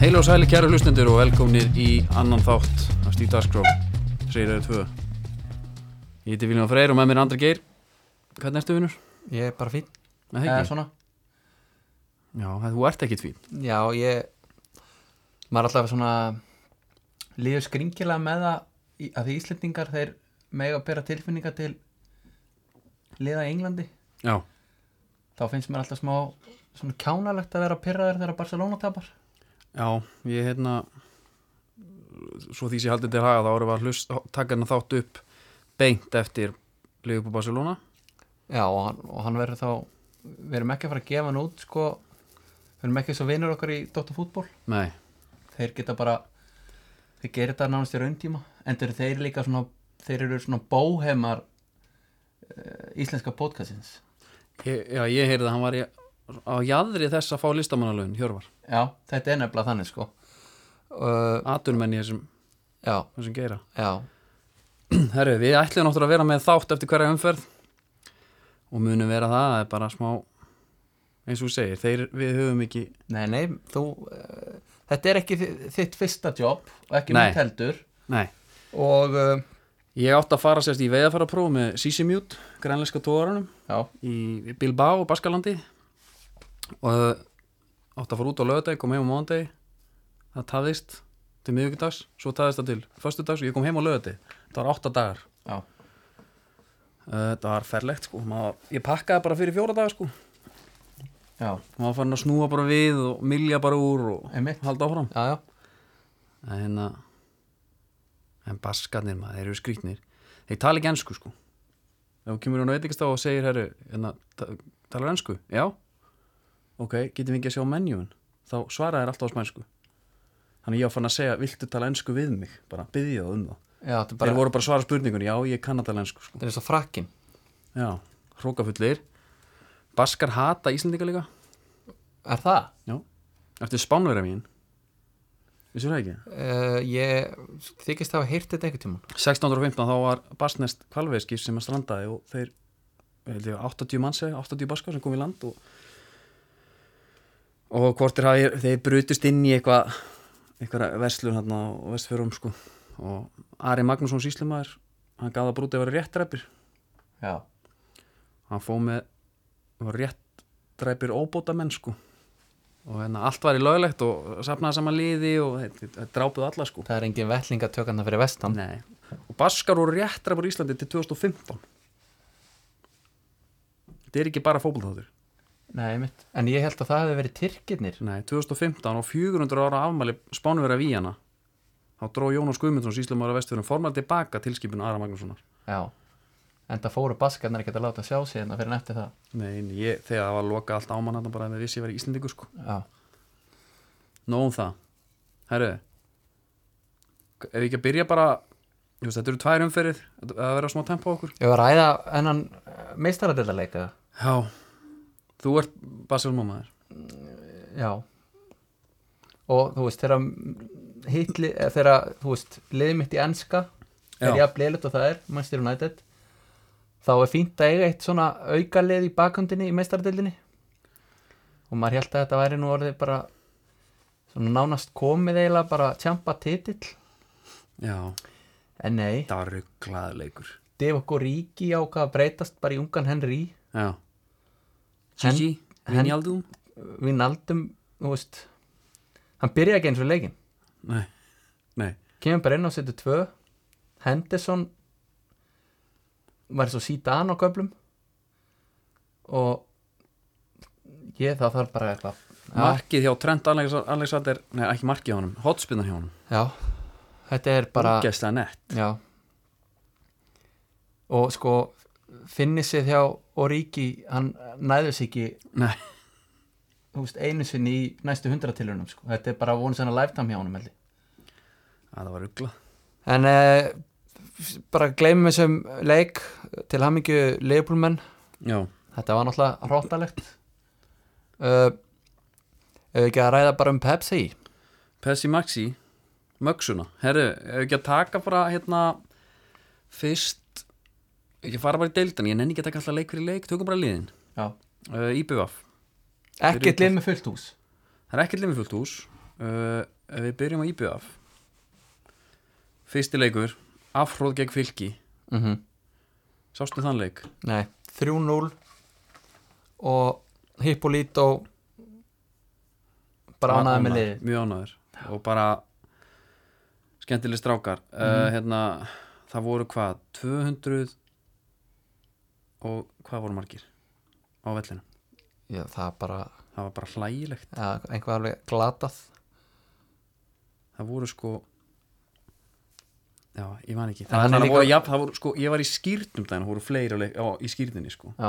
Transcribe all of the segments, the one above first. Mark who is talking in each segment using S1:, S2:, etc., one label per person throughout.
S1: Heil og sæli kæru hlustendur og velkomnir í annan þátt af Stíf Dagskró, segir þeirra tvö. Ég heiti Vilján Freyr og með mér er Andri Geir. Hvernig ertu vinur?
S2: Ég er bara fín
S1: Nei, það
S2: Eða
S1: ekki.
S2: svona
S1: Já, það- þú ert ekki tvín.
S2: Já, ég Maður er alltaf svona Líður skringilega með það í- Að því Íslendingar þeir mega bera tilfinningar til Liða í Englandi
S1: Já,
S2: Þá finnst mér alltaf smá Svona kjánalegt að vera pyrraður þegar Barcelona tapar
S1: já, ég hérna, svo því sem ég haldið til haga þá erum við að hlust, taka hennar þátt upp beint eftir Liverpool Barcelona.
S2: Já, og hann, og hann verður þá Við erum ekki að fara að gefa hann út sko Við erum ekki svo vinur okkar í Dóttar fútból
S1: Nei,
S2: Þeir geta bara Þeir gerir þetta nánast í rauntíma En þeir, þeir líka svona Þeir eru svona bóhemar uh, Íslenska podcastins
S1: ég, já, ég heyrði að hann var í, á jæðri þess að fá listamannalögin, Hjörvar.
S2: Já, þetta er nefnilega þannig sko uh,
S1: Aturmenn í þessum,
S2: Já,
S1: þessum geira.
S2: já,
S1: Herru, við ætlum náttúrulega að vera með þátt eftir hverja umferð og munum vera það, það er bara smá eins og þú segir, þeir, við höfum ekki
S2: nei, nei, þú uh, Þetta er ekki þi- þitt fyrsta jobb og ekki
S1: Nei.
S2: mitt heldur
S1: Nei,
S2: og uh,
S1: ég átti að fara sérst í veiðarfarapróf með Sisimjút, grænleiska tóðarunum
S2: já,
S1: í Bilbao, Baskalandi og eh, átti að fara út á lögadeg, kom heim á mánudeg það tafðist til miðvikudags svo tafðist það til föstudags og ég kom heim á lögadeg það var átta dagar
S2: já,
S1: Uh, þetta var ferlegt sko, Maður, ég pakkaði bara fyrir fjóra daga sko
S2: já,
S1: maður fann að snúa bara við og milja bara úr og
S2: Einmitt.
S1: halda áfram
S2: já,
S1: en
S2: já
S1: hérna en baskarnir maður, þeir eru skrýtnir þeir tala ekki ennsku sko ef þú kemur hún á veitingastá og segir herru hérna, ta- talar ennsku, já ok, getum við ekki að sjá menjúin þá svara þeir alltaf á smænsku þannig ég var fann að segja, viltu tala ennsku við mig bara byggja það um það
S2: Já, þetta er bara,
S1: þeir voru bara að svara spurningunni, já ég kann að tala ennsku sko.
S2: þetta er eins og frakkin
S1: já, hrókafullir baskar hata Íslandinga líka
S2: Er það?
S1: Já, eftir spánverja mín Vissur það ekki?
S2: Uh, ég þykist hafa heyrt þetta einhvern tímann
S1: 1615 þá var basnest kvalveiskip sem að strandaði og þeir held ég, 80 manns eða 80 baskar sem kom í land og, og hvort þeir, hafi- þeir brutust inn í eitthvað eitthvað verslun hérna á vestfjörum sko og Ari Magnússon síslumæður hann gaf það brútið að vera réttræpir
S2: Já,
S1: hann fóð með var réttræpir óbóta menn sko og hérna allt var í löglegt og safnaði saman liði og þeir- þeir- þeir drápuð alla sko
S2: það er engin velling að tökana fyrir vestan
S1: Nei, og Baskar voru réttra á Íslandi til 2015 Þetta er ekki bara fótbolþáttur
S2: Nei, mitt, en ég held að það hefði verið tyrkirnir
S1: Nei, 2015 og 400 ára afmæli spánverja Víjana þá dró Jónas Guðmundsson síslum ára vestfjörnum formal tilbaka tilskipinu Ara Magnússonar
S2: Já, en það fóru baskarnar ekki að láta sjá sig en að fyrir en eftir það
S1: Nei, nei, ég, þegar það var loka allt ámann hann bara að við vissi ég verið Íslandingur sko
S2: Já,
S1: Nóum um það Herru Ef við ekki að byrja bara þú veist, Þetta eru tvær umferðir, það verður smá tempo á okkur
S2: ég var að ræða eh, ennan meistaradildaleika
S1: Já, þú ert Basilmamaður
S2: Já Og þú veist, þegar hitli, eh, þegar, þú veist, liðið mitt í enska
S1: Já.
S2: er jafn liðlut og það er, Manchester United þá er fínt að eiga eitt svona auka lið í bakhundinni í meistardildinni og maður held að þetta væri nú orðið bara svona nánast komið eiginlega bara tjampa titill
S1: Já,
S2: en nei,
S1: það var rugglaður leikur
S2: Div okkur ríki á hvað að breytast bara í ungan Henry
S1: Já
S2: Hen-
S1: Gigi,
S2: hen-
S1: Vinjaldum
S2: við naldum, þú veist hann byrjaði ekki eins og leikin
S1: Nei, nei
S2: kemur bara inn á setu 2 Henderson var svo sítan á köflum og ég það þarf bara eitthvað já,
S1: Markið hjá Trent Alex- Alexander Nei, ekki markið hjá honum, hotspinnar hjá honum
S2: já, þetta er bara
S1: Gæstlega nett
S2: já. og sko finni sér hjá Origi hann næður sér ekki
S1: Nei,
S2: þú veist, einu sinni í næstu hundratilunum sko. þetta er bara vonið sann að lifetime hjá honum held ég.
S1: það var ruggla
S2: En eh, bara gleymum þessum leik til hamingju leifbúlmenn
S1: Já,
S2: Þetta var náttúrulega hróttalegt uh, Ef við ekki að ræða bara um Pepsi
S1: Pessi Maxi Mögsuna, herru, ef ekki að taka bara hérna Fyrst Ekki fara bara í deildan, ég nenni ekki að taka alltaf leik fyrir leik Tökum bara liðin,
S2: Já
S1: uh, IBVF
S2: Ekkert lið með fullt hús
S1: Það er ekkert limifullt hús uh, ef Við byrjum á IBF Fyrsti leikur Afhróð gegn fylki
S2: mm
S1: Sástu þann leik
S2: Nei, 3-0 og Hippolito bara ánæði með liðið
S1: Mjög ánæður Og bara skemmtileg strákar
S2: Mhm.
S1: uh, Hérna Það voru hvað 200 Og hvað voru margir Á vellinu
S2: Já, það er bara
S1: Það var bara hlægilegt
S2: ja, einhvað alveg glatað
S1: það voru sko já, ég man ekki
S2: En
S1: það,
S2: hann er
S1: það,
S2: líka-
S1: voru, jafn, það voru sko, ég var í skýrnum þannig, það voru fleiri á leik, á, í skýrninni sko
S2: Já,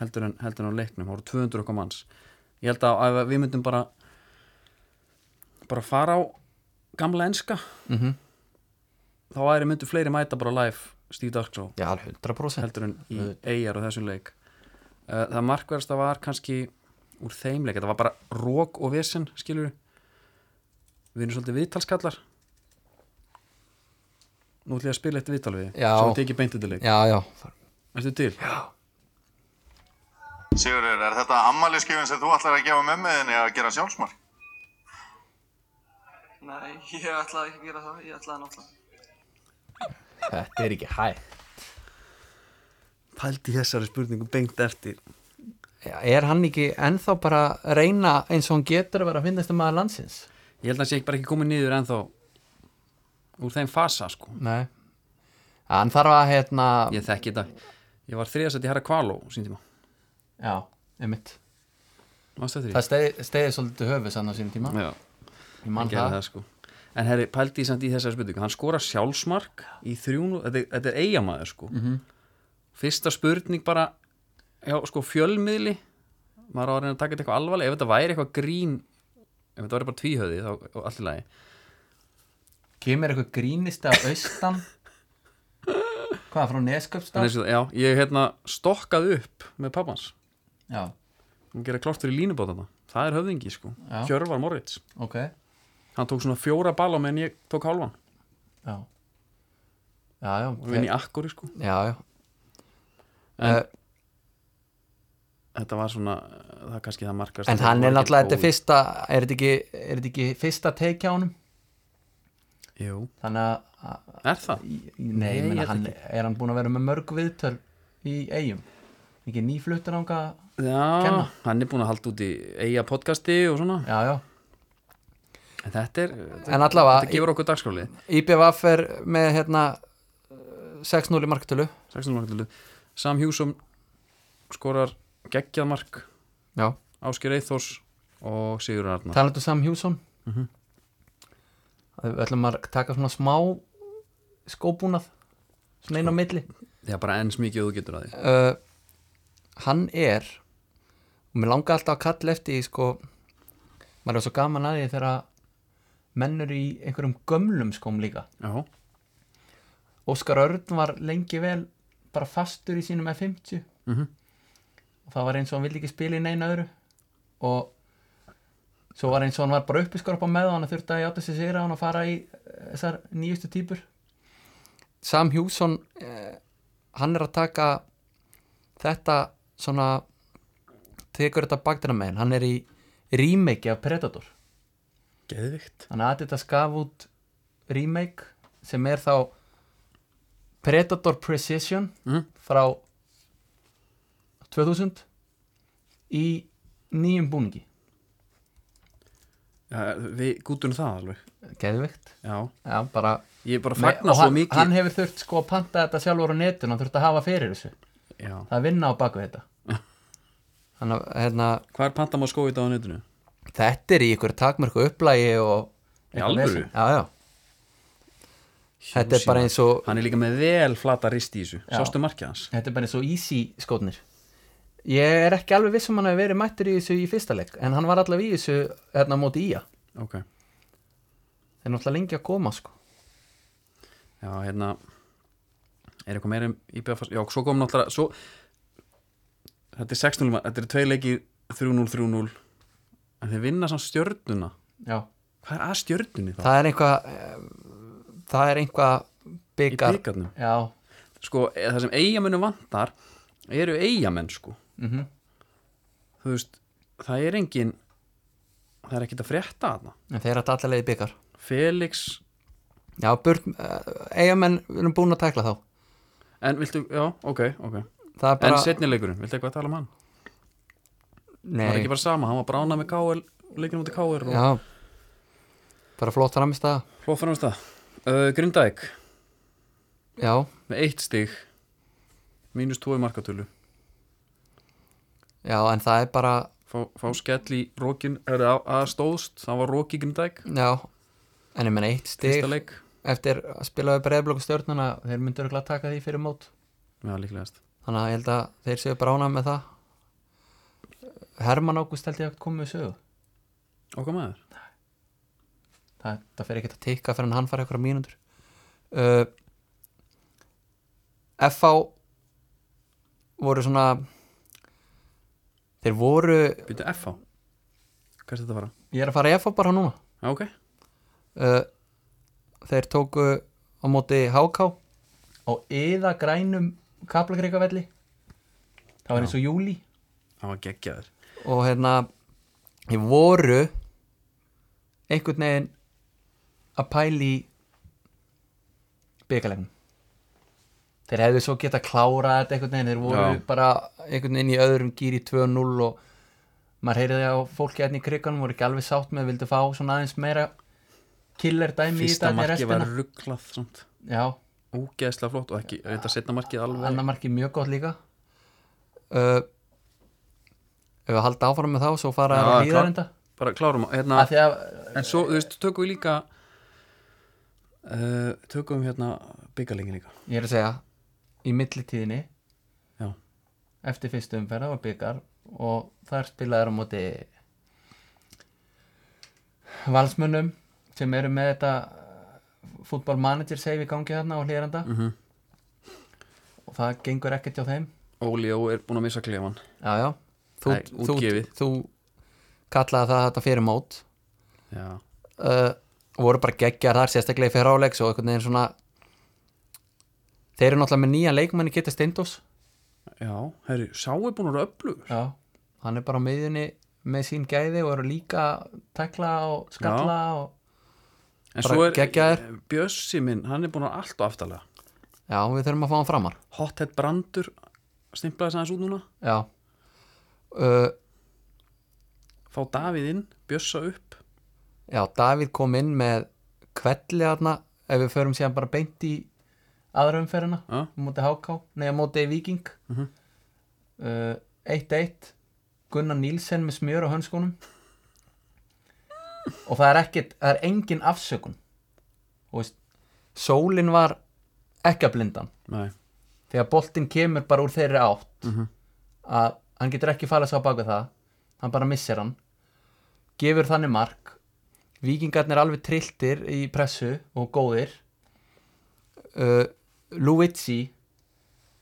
S1: heldur en, heldur en á leiknum, það voru 200 okkar manns ég held að, að við myndum bara bara fara á gamla enska
S2: mm
S1: þá væri myndu fleiri mæta bara live Steve Darkshaw
S2: Já alveg 100%
S1: heldur en í
S2: Auðvitað.
S1: eigjar og þessum leik Eh, það markverðasta var kannski úr þeim leik, þetta var bara rók og vesen skilur við erum svolítið viðtalskallar nú ætlum ég að spila eitt viðtal við þig,
S2: Já.
S1: svo þetta ekki beint þetta leik
S2: Já, já,
S1: ertu til?
S3: Sigurður, er þetta ammaliðskifin sem þú ætlar að gefa mömmuðinni að gera sjálfsmark?
S4: Nei, ég ætlaði ekki að gera það, ég ætlaði náttúrulega.
S2: þetta er ekki hæ
S1: pældi þessari spurningu beint eftir
S2: Já, er hann ekki ennþá bara að reyna eins og hann getur að vera að finnast um maður landsins?
S1: ég held að hann sé ekki bara ekki komið niður ennþá úr þeim fasa sko
S2: Nei Hann þarf að hérna
S1: ég þekki þetta, ég var þriðasætt í herra kvaló sín tíma,
S2: Já, einmitt
S1: mástu eftir því?
S2: Það steið- steiði svolítið höfuð sann á sínum tíma
S1: Já.
S2: Ég man
S1: hann gerði
S2: það
S1: það sko en herri, pældi ég samt í þessari spurningu hann skora sjálfsmark í þrjún þetta, er- þetta er eigamæður sko
S2: Mhm.
S1: fyrsta spurning bara já, sko fjölmiðli maður á að reyna að taka þetta eitthvað alvarlega ef þetta væri eitthvað grín ef þetta væri bara tvíhöði þá og allt í lagi
S2: Kemur eitthvað grínisti á austan Hvað, frá
S1: en
S2: Nesköpstað?
S1: eins og það, já, ég hérna stokkað upp með pappans
S2: Já,
S1: og gera klart fyrir línubótana það er höfðingi sko,
S2: Já.
S1: Hjörvar Moritz
S2: ok Já
S1: hann tók svona fjóra bala meðan ég tók hálfan
S2: Já, já
S1: og vinn í akkori sko
S2: Já, já
S1: En-
S2: En,
S1: þetta var svona, það er kannski það markast
S2: en hann er náttúrulega þetta er fyrsta er þetta ekki, er þetta ekki fyrsta teikja honum
S1: jú, þannig
S2: Þannig
S1: að er það?
S2: Í- Nei,
S1: Nei,
S2: ég meina,
S1: ég held
S2: hann, er hann búin að vera með mörg viðtöl í eigum ekki nýfluttur ánga
S1: Já,
S2: kenna.
S1: hann er búin að halda út í eiga podcasti og svona
S2: já, já,
S1: En þetta er, þetta,
S2: en allavega
S1: þetta gefur okkur dagskráli
S2: IBVF er með hérna 6-0 í marktölu
S1: 16 marktölu Sam Hjúsum skorar geggjað mark
S2: já,
S1: Ásker Eithors og Sigur Arnar
S2: talandu Sam Hjússon við ætlum að taka svona smá skóbúnað svona einn á milli
S1: Já, bara enn smikið og þú getur að því
S2: uh, hann er og mér langar alltaf að kalla eftir því, sko, maður er svo gaman að því þegar að menn eru í einhverjum gömlum skóm líka
S1: Já,
S2: Óskar Örn var lengi vel bara fastur í sínum F50
S1: Mhm.
S2: og það var eins og hann vildi ekki spila í neina öðru og svo var eins og hann var bara uppiskur upp á með og hann þurfti að játa sér sigra hann og fara í eh, þessar nýjustu típur Sam Hjússon eh, hann er að taka þetta svona tekur þetta baktina með hann er í remake af Predator
S1: geðvikt
S2: þannig að Adidas gaf út remake sem er þá Predator Precision
S1: mm?
S2: frá 2000 í nýjum búningi
S1: Já, við gútum það alveg
S2: geðveikt
S1: Já,
S2: Já, bara,
S1: ég bara
S2: Nei,
S1: fagna
S2: og
S1: svo
S2: hann,
S1: mikið
S2: hann hefur þurft sko að panta þetta sjálfur á netun hann þurft að hafa fyrir þessu
S1: Já,
S2: það er vinna á baku þetta Þannig, að, hérna,
S1: hvað er pantam á skóið þetta á netinu?
S2: þetta er í ykkur takmörku upplægi og
S1: Í alvöru?
S2: vesen. já, já. þetta er bara eins og
S1: Hann er líka með vel flata rist í þessu
S2: Já.
S1: Sástu markið hans?
S2: Þetta er bara eins og easy skotnir Ég er ekki alveg viss um hann að verið mættur í þessu í fyrsta leik En hann var allavega í þessu hérna á móti í að
S1: Ok
S2: Þeir er náttúrulega lengi að koma sko
S1: Já, hérna Er eitthvað meira um IBF Já, svo kom náttúrulega svo, Þetta er 6-0 ma- Þetta eru tvei leikir 3-0, 3-0 En þeir vinna samt stjörnuna
S2: Já
S1: Hvað er að stjörnunni þá?
S2: Það er einhvað eh, Það er einhvað
S1: Í
S2: byggar
S1: byggarnum
S2: Já
S1: Sko, e- það sem eigamennum vantar Eru eigamenn sko
S2: mm
S1: Þú veist, það er engin það er ekkert að frétta þarna
S2: en þeir eru að dalla leiði byggar
S1: Felix,
S2: já, burt, eigamenn, við erum búin að tækla þá
S1: en viltu, já, ok, ok
S2: það er
S1: En
S2: bara,
S1: setni leikurinn, viltu eitthvað að tala um hann? Það var
S2: nei,
S1: ekki bara sama, hann var bránað með KL leikurinn mútið KL og
S2: já bara flott framist að,
S1: hlóð fannum það uh, Grindæk,
S2: já
S1: með eitt stig mínus 2 markatölu
S2: já, en það er bara,
S1: fá, fá skell í rókin, er það að stóðst það var róki Grindæk,
S2: já en ég menn eitt stig
S1: fyrsta leik
S2: eftir að spilaðu breyðblokk og stjórnuna þeir myndu örugglega að taka því fyrir mót
S1: Já, líklegast
S2: þannig að ég held að þeir séu bara ánað með það Herman Ágúst held ég að komið sögu
S1: Okkar maður
S2: það, það fer ekkert að tikka fyrir hann fara eitthvað mínútur uh, FH voru svona þeir voru
S1: Býtu F á Hvað er þetta að fara?
S2: ég er að fara í FH bara núna
S1: Já, ok
S2: uh, þeir tóku á móti HK á yða grænum kaplakreikavelli það var eins og júli
S1: Það var geggjaður
S2: og hérna ég voru einhvern veginn að pæli byggalegnum þeir hefðu svo geta klárað þetta einhvern veginn þeir voru
S1: Já.
S2: bara einhvern veginn í öðrum gýr í 2-0 og maður heyriði á fólki hérna í kriganum voru ekki alveg sátt með vildu fá svona aðeins meira killer dæmi
S1: Fyrsta
S2: í
S1: marki
S2: þetta
S1: var rugglað samt
S2: já,
S1: Ógeðslega flott og ekki
S2: Ah.
S1: Þetta setna markið alveg
S2: annar marki mjög gott líka uh, ef við halda áfram með þá svo fara
S1: Já,
S2: að
S1: klá-
S2: hlýða reynda
S1: Bara klárum á hérna,
S2: af því að
S1: En svo, þú veist, tökum við líka uh, Tökum við hérna byggalingin líka
S2: Ég er að segja, í millitíðinni
S1: Já.
S2: eftir fyrstu umferða var byggar og þar spilaður á móti valsmönnum sem eru með þetta fútbolmanager save í gangi þarna og hlýranda
S1: Mhm.
S2: og það gengur ekkert hjá þeim
S1: Óli Ó er búin að missa klefan
S2: Já, já Þú,
S1: Nei,
S2: þú,
S1: útgefið.
S2: þú kallaði það þetta fyrir mót
S1: Já,
S2: uh, voru bara geggjar þar sérstaklega í fyrir áleik og einhvern veginn svona þeir eru náttúrulega með nýja leikmanni Kitta Steindós
S1: já, herri, sá er búin að vera öflugur
S2: Já, hann er bara á miðjunni með sín gæði og eru líka að tekla og skalla og
S1: En
S2: Bara
S1: svo er Eh,
S2: geggjaður.
S1: Bjössi minn, hann er búin að vera allt og aftalega
S2: já, við þurfum að fá hann framar
S1: Hothead Brandur Stimplaði þess aðeins út núna
S2: Já uh,
S1: Fá Davíð inn, Bjössa upp
S2: Já, Davíð kom inn með kvelli þarna ef við förum síðan bara beint í aðra umferðina
S1: Já.
S2: á móti HK, nei á móti Viking uh 1-1 Gunnar Nílsen með smjör á hönskónum og það er ekkit, það er engin afsökun og veist sólin var ekki að blinda hann
S1: Nei,
S2: þegar boltinn kemur bara úr þeirri átt
S1: Mhm.
S2: að hann getur ekki falið svo á bak við það hann bara missir hann gefur þannig mark vikingarnir alveg trilltir í pressu og góðir uh, Luigi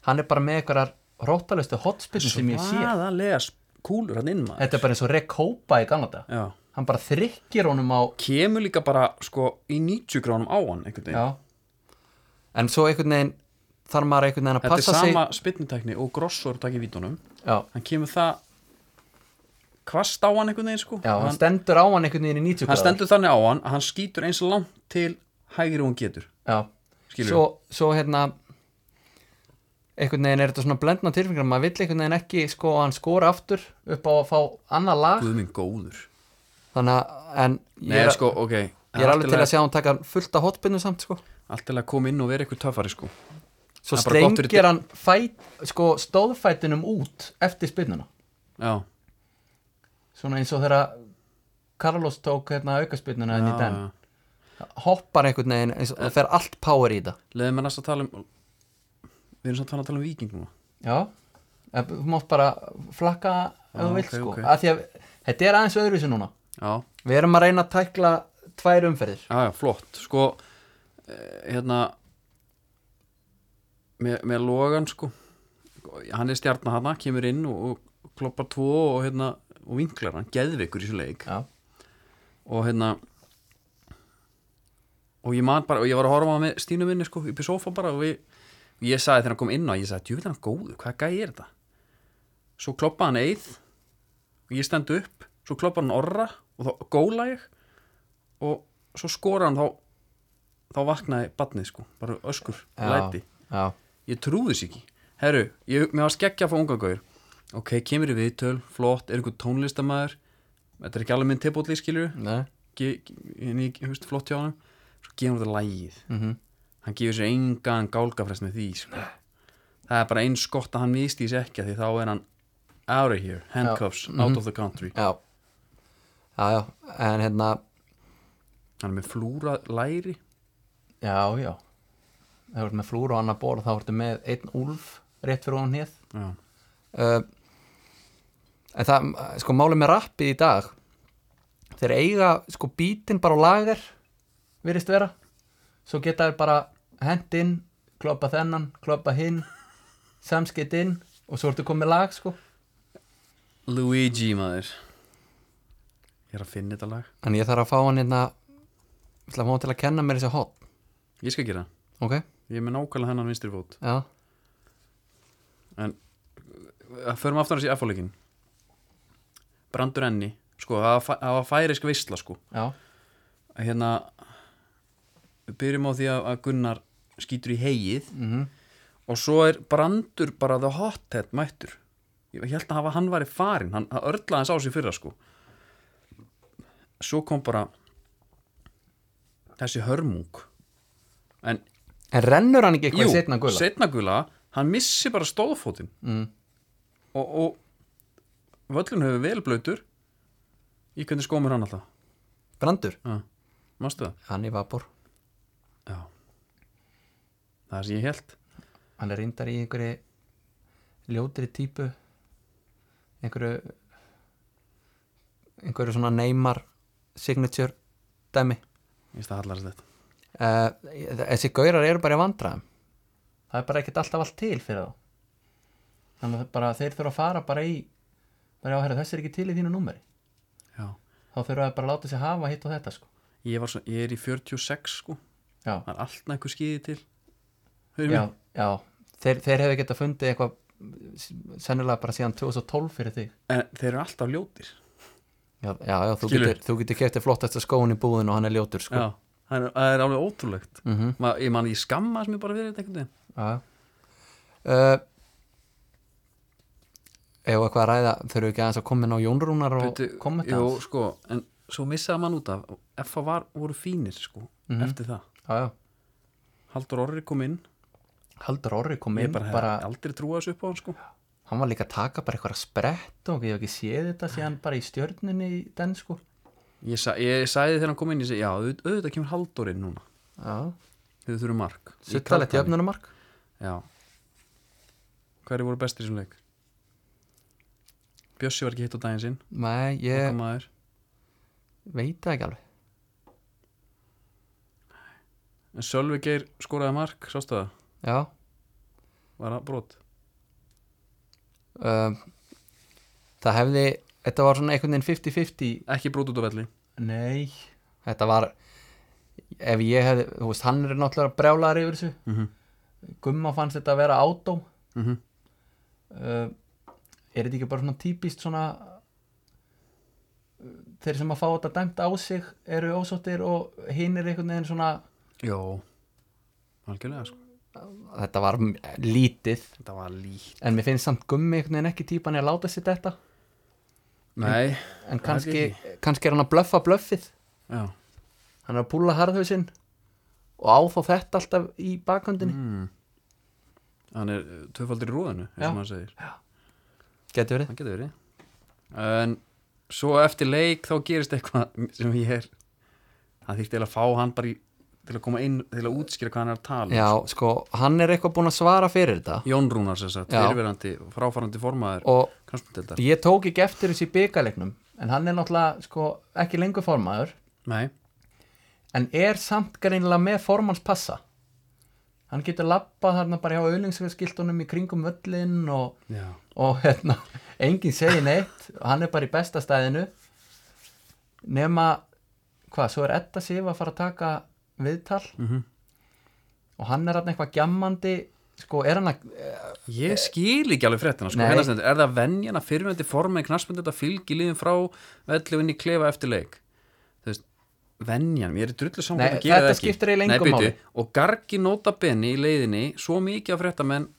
S2: hann er bara með einhverjar róttalustu hotspinnu sem ég sé
S1: Svaðalega kúlur hann inn maður
S2: þetta er bara eins og Rick Hopa í Kanada
S1: Já
S2: hann bara þrykkir honum á
S1: kemur líka bara sko í 90 gránum á hann einhvern veginn.
S2: já. en svo einhvern veginn þarf maður einhvern veginn að
S1: Þetta er
S2: passa sig
S1: sama spytnitekni og grossor takk í vítunum.
S2: já,
S1: Hann kemur það kvast á hann einhvern veginn sko.
S2: já, hann,
S1: hann,
S2: stendur á hann einhvern veginn í
S1: hann
S2: 90 gráður.
S1: stendur þannig á hann að hann skýtur eins langt til hægri og hann getur.
S2: Já,
S1: Skilurðu?
S2: svo, svo hérna einhvern veginn er þetta svona blendna tilfengar maður vill einhvern veginn ekki sko að hann skora aftur upp á að fá annað lag
S1: Guð minn góður.
S2: þannig að en ég
S1: Nei,
S2: er,
S1: sko, ok.
S2: ég er alveg til að sjá hann taka fullt af hotbinu samt sko
S1: Allt til að koma inn og vera eitthvað töffari sko. Það
S2: svo
S1: er bara gott fyrir
S2: strengir hann fæt, sko, stóðfætinum út eftir spinnuna
S1: Já.
S2: svona eins og þegar Carlos tók hérna aukaspinnuna en í
S1: já,
S2: den
S1: já.
S2: hoppar einhvern veginn eins og það fer allt power í þetta
S1: Leðum við næst að tala um, við erum samt farin að tala um viking núna.
S2: Já, ef- þú mátt bara flakka ef
S1: Já,
S2: þú vilt
S1: ok,
S2: sko
S1: ok.
S2: okay. Því að þetta er aðeins öðruvísi núna
S1: Já.
S2: Við erum að reyna að tækla tvær umferðir
S1: Já, já, flott Sko, eh, hérna með, með Logan, sko hann er stjarnar hana, kemur inn og, og kloppar tvo og hérna og vinklar hann, geðveikur í þessum leik
S2: Já,
S1: og hérna og ég man bara, og ég var að horfa á hann með Stínu minni, sko, upp í sofa bara og við, ég sagði þegar hann kom inn á, ég sagði, djúvill er hann góður, hvað gæði er þetta? Svo kloppaði hann eið og ég stend upp, svo kloppaði hann orra og og þá góla ég og svo skora hann þá þá vaknaði badnið sko bara öskur, læti
S2: já,
S1: ég trúði sér ekki herru, ég, mér var skeggja að fá unga gauður ok, kemur í viðtöl, flott, er einhver tónlistamæður þetta er ekki alveg minn tilbúðli skilur
S2: nei,
S1: en ég veist flott hjá hann svo gefur þetta lægið
S2: mhm,
S1: hann gefur sér engan gálgafræst með því sko. það er bara eins gott að hann misti þess ekki af því þá er hann out of here, handcuffs, out of the country
S2: já já, já, en hérna
S1: hann er með flúra læri
S2: já, já það voru með flúr og annar borð þá voru með einn úlf rétt fyrir ofan hér
S1: já,
S2: uh, en það, sko, málið með rappið í dag þeir eiga, sko, bítinn bara á lager virðist vera svo geta þeir bara hent inn kloppa þennan, kloppa hinn samskipt inn og svo ertu komið lag, sko
S1: Luigi maður ég er að finna þetta lag
S2: en ég þarf að fá hann hérna ég ætla að fá hann til að kenna mér þessi hot
S1: ég skal gera, það.
S2: ok,
S1: ég er með nákvæmlega hennan vinstri fót
S2: já,
S1: Að eh, förum aftur hans í F-fólikin Brandur Enni sko, það var fæ- það var færisk veistla sko
S2: já,
S1: að hérna við byrjum á því að að Gunnar skýtur í hegið
S2: mhm
S1: og svo er Brandur bara the hothead mættur ég held að hafa- hann væri farinn, hann hann örlaði hans á sig fyrra sko svo kom bara þessi hörmung en
S2: en rennur hann ekki eitthvað
S1: jú,
S2: í setna gula?
S1: seinna gula, hann missi bara stóðfótinn
S2: mm.
S1: og, og völlun hefur vel blöytur í hvernig skómur hann alltaf
S2: brandur,
S1: ja. mástu það?
S2: hann í vapor
S1: Já það er sem ég held
S2: hann er reyndar í einhverju ljótri típu einhverju einhverju svona neymar signature dæmi
S1: ég veist að hallast þetta
S2: uh, þessi gaurar eru bara í vandræðum það er bara ekkert alltaf allt til fyrir þá þannig að bara, þeir þurfa að fara bara í bara já, herra, þessi er ekki til í þínu númeri
S1: Já.
S2: þá þurfa að bara láta sér hafa hitt og þetta sko
S1: ég, var svo, ég er í 46 sko
S2: já,
S1: það er allt nægur skýði til
S2: já,
S1: Hörðu mig?
S2: já. Þeir, þeir hefur getað fundið eitthvað sennilega bara síðan 2012 fyrir þig
S1: en þeir eru alltaf ljótir sko.
S2: Já, já, já þú,
S1: Skilur.
S2: getur, þú getur kert þér flottasta skóin í búðin og hann er ljótur sko.
S1: já, það er, það er alveg ótrúlegt
S2: mm
S1: Ma, ég man ég skamma sem ég bara fyrir þetta einhvern veginn
S2: já. Uh, Ef eitthvað að ræða þurfum við ekki aðeins að koma inn á Jónrúnar og
S1: Veitu,
S2: koma þetta
S1: jú,
S2: aðeins?
S1: sko, en svo missaði mann út af F.A. Var, voru fínir sko
S2: Mhm.
S1: eftir það
S2: Já, já.
S1: Haldur Orri kom inn,
S2: Haldur Orri kom
S1: ég
S2: inn
S1: bara,
S2: bara,
S1: bara aldrei trúa þessu upp á hann sko
S2: hann var líka að taka bara eitthvað sprett og ég hef ekki séð þetta síðan bara í stjörnunni í den sko
S1: ég, sa, ég sagði þegar hann kom inn, ég segi já, auð- auðvitað kemur Haldur inn núna
S2: Já,
S1: þau þurfum mark Í
S2: suttalegt
S1: Kaldhafi.
S2: jöfnunumark
S1: Já Hverju voru bestir í þessum leik? Bjössi var ekki hitt á daginn sinn
S2: Nei,
S1: yeah.
S2: ég
S1: maður,
S2: veit það ekki alveg
S1: En Sölvi Geir skoraði mark, sástu það?
S2: Já,
S1: Var það brot?
S2: um, það hefði þetta var svona einhvern veginn 50-50
S1: Ekki brot út á velli
S2: Nei Þetta var Ef ég hefði, þú veist, hann er náttúrulega brjálaður yfir þessu
S1: mm -hmm.
S2: Gumma fannst þetta að vera átó
S1: Mm
S2: Mhm. uh, Er þetta ekki bara svona típist svona uh, Þeir sem að fá þetta dæmt á sig eru ósóttir og hinn er einhvern veginn svona
S1: Jó Algjörlega sko
S2: Þetta var m- lítið
S1: Þetta var líkt
S2: En mér finnst samt gummi einhvern veginn ekki típan að láta sér þetta
S1: Nei,
S2: En
S1: Það er
S2: kannski, kannski er hann að blöffa blöffið
S1: já
S2: Hann er að púla harðhausinn og á þá þetta alltaf í bakhöndinni
S1: mm. Hann er uh, tvöfaldur í rúðinu eins
S2: Já.
S1: og maður segir
S2: Gæti verið
S1: Það getur verið En svo eftir leik þá gerist eitthvað sem ég er Það þýrst eiginlega að fá hann bara í til að koma inn, til að útskýra hvað hann er að tala um,
S2: Já, sko, hann er eitthvað búinn að svara fyrir þetta
S1: Jón Rúnar sem sagt,
S2: Já.
S1: fyrirverandi fráfarandi formaður
S2: og
S1: knarspundeldar
S2: ég tók ekki eftir þessi byggalegnum en hann er náttúrulega sko, ekki lengur formaður
S1: Nei,
S2: en er samt greinilega með formannspassa hann getur labbað þarna bara hjá auðlingsskiltunum í kringum völlin og,
S1: já,
S2: og hérna, enginn segir neitt og hann er bara í besta stæðinu nema hvað, svo er Edda Sif að fara að taka viðtal
S1: Mhm.
S2: og hann er hann eitthvað gjammandi sko, er hann að
S1: Ég skil ekki alveg fréttina sko.
S2: Nei.
S1: Hérna stendur, Er það venjan að fyrirmyndi formi knarsmyndi þetta fylgi liðin frá vellu inn í klefa eftir leik Þú veist, venjan, ég er drullu saman
S2: Nei,
S1: hvort að gera
S2: þetta
S1: það ekki.
S2: skiptir eiginlega engu
S1: Nei, bíddu,
S2: máli.
S1: Og gargi nota benni í leiðinni svo mikið af fréttamenn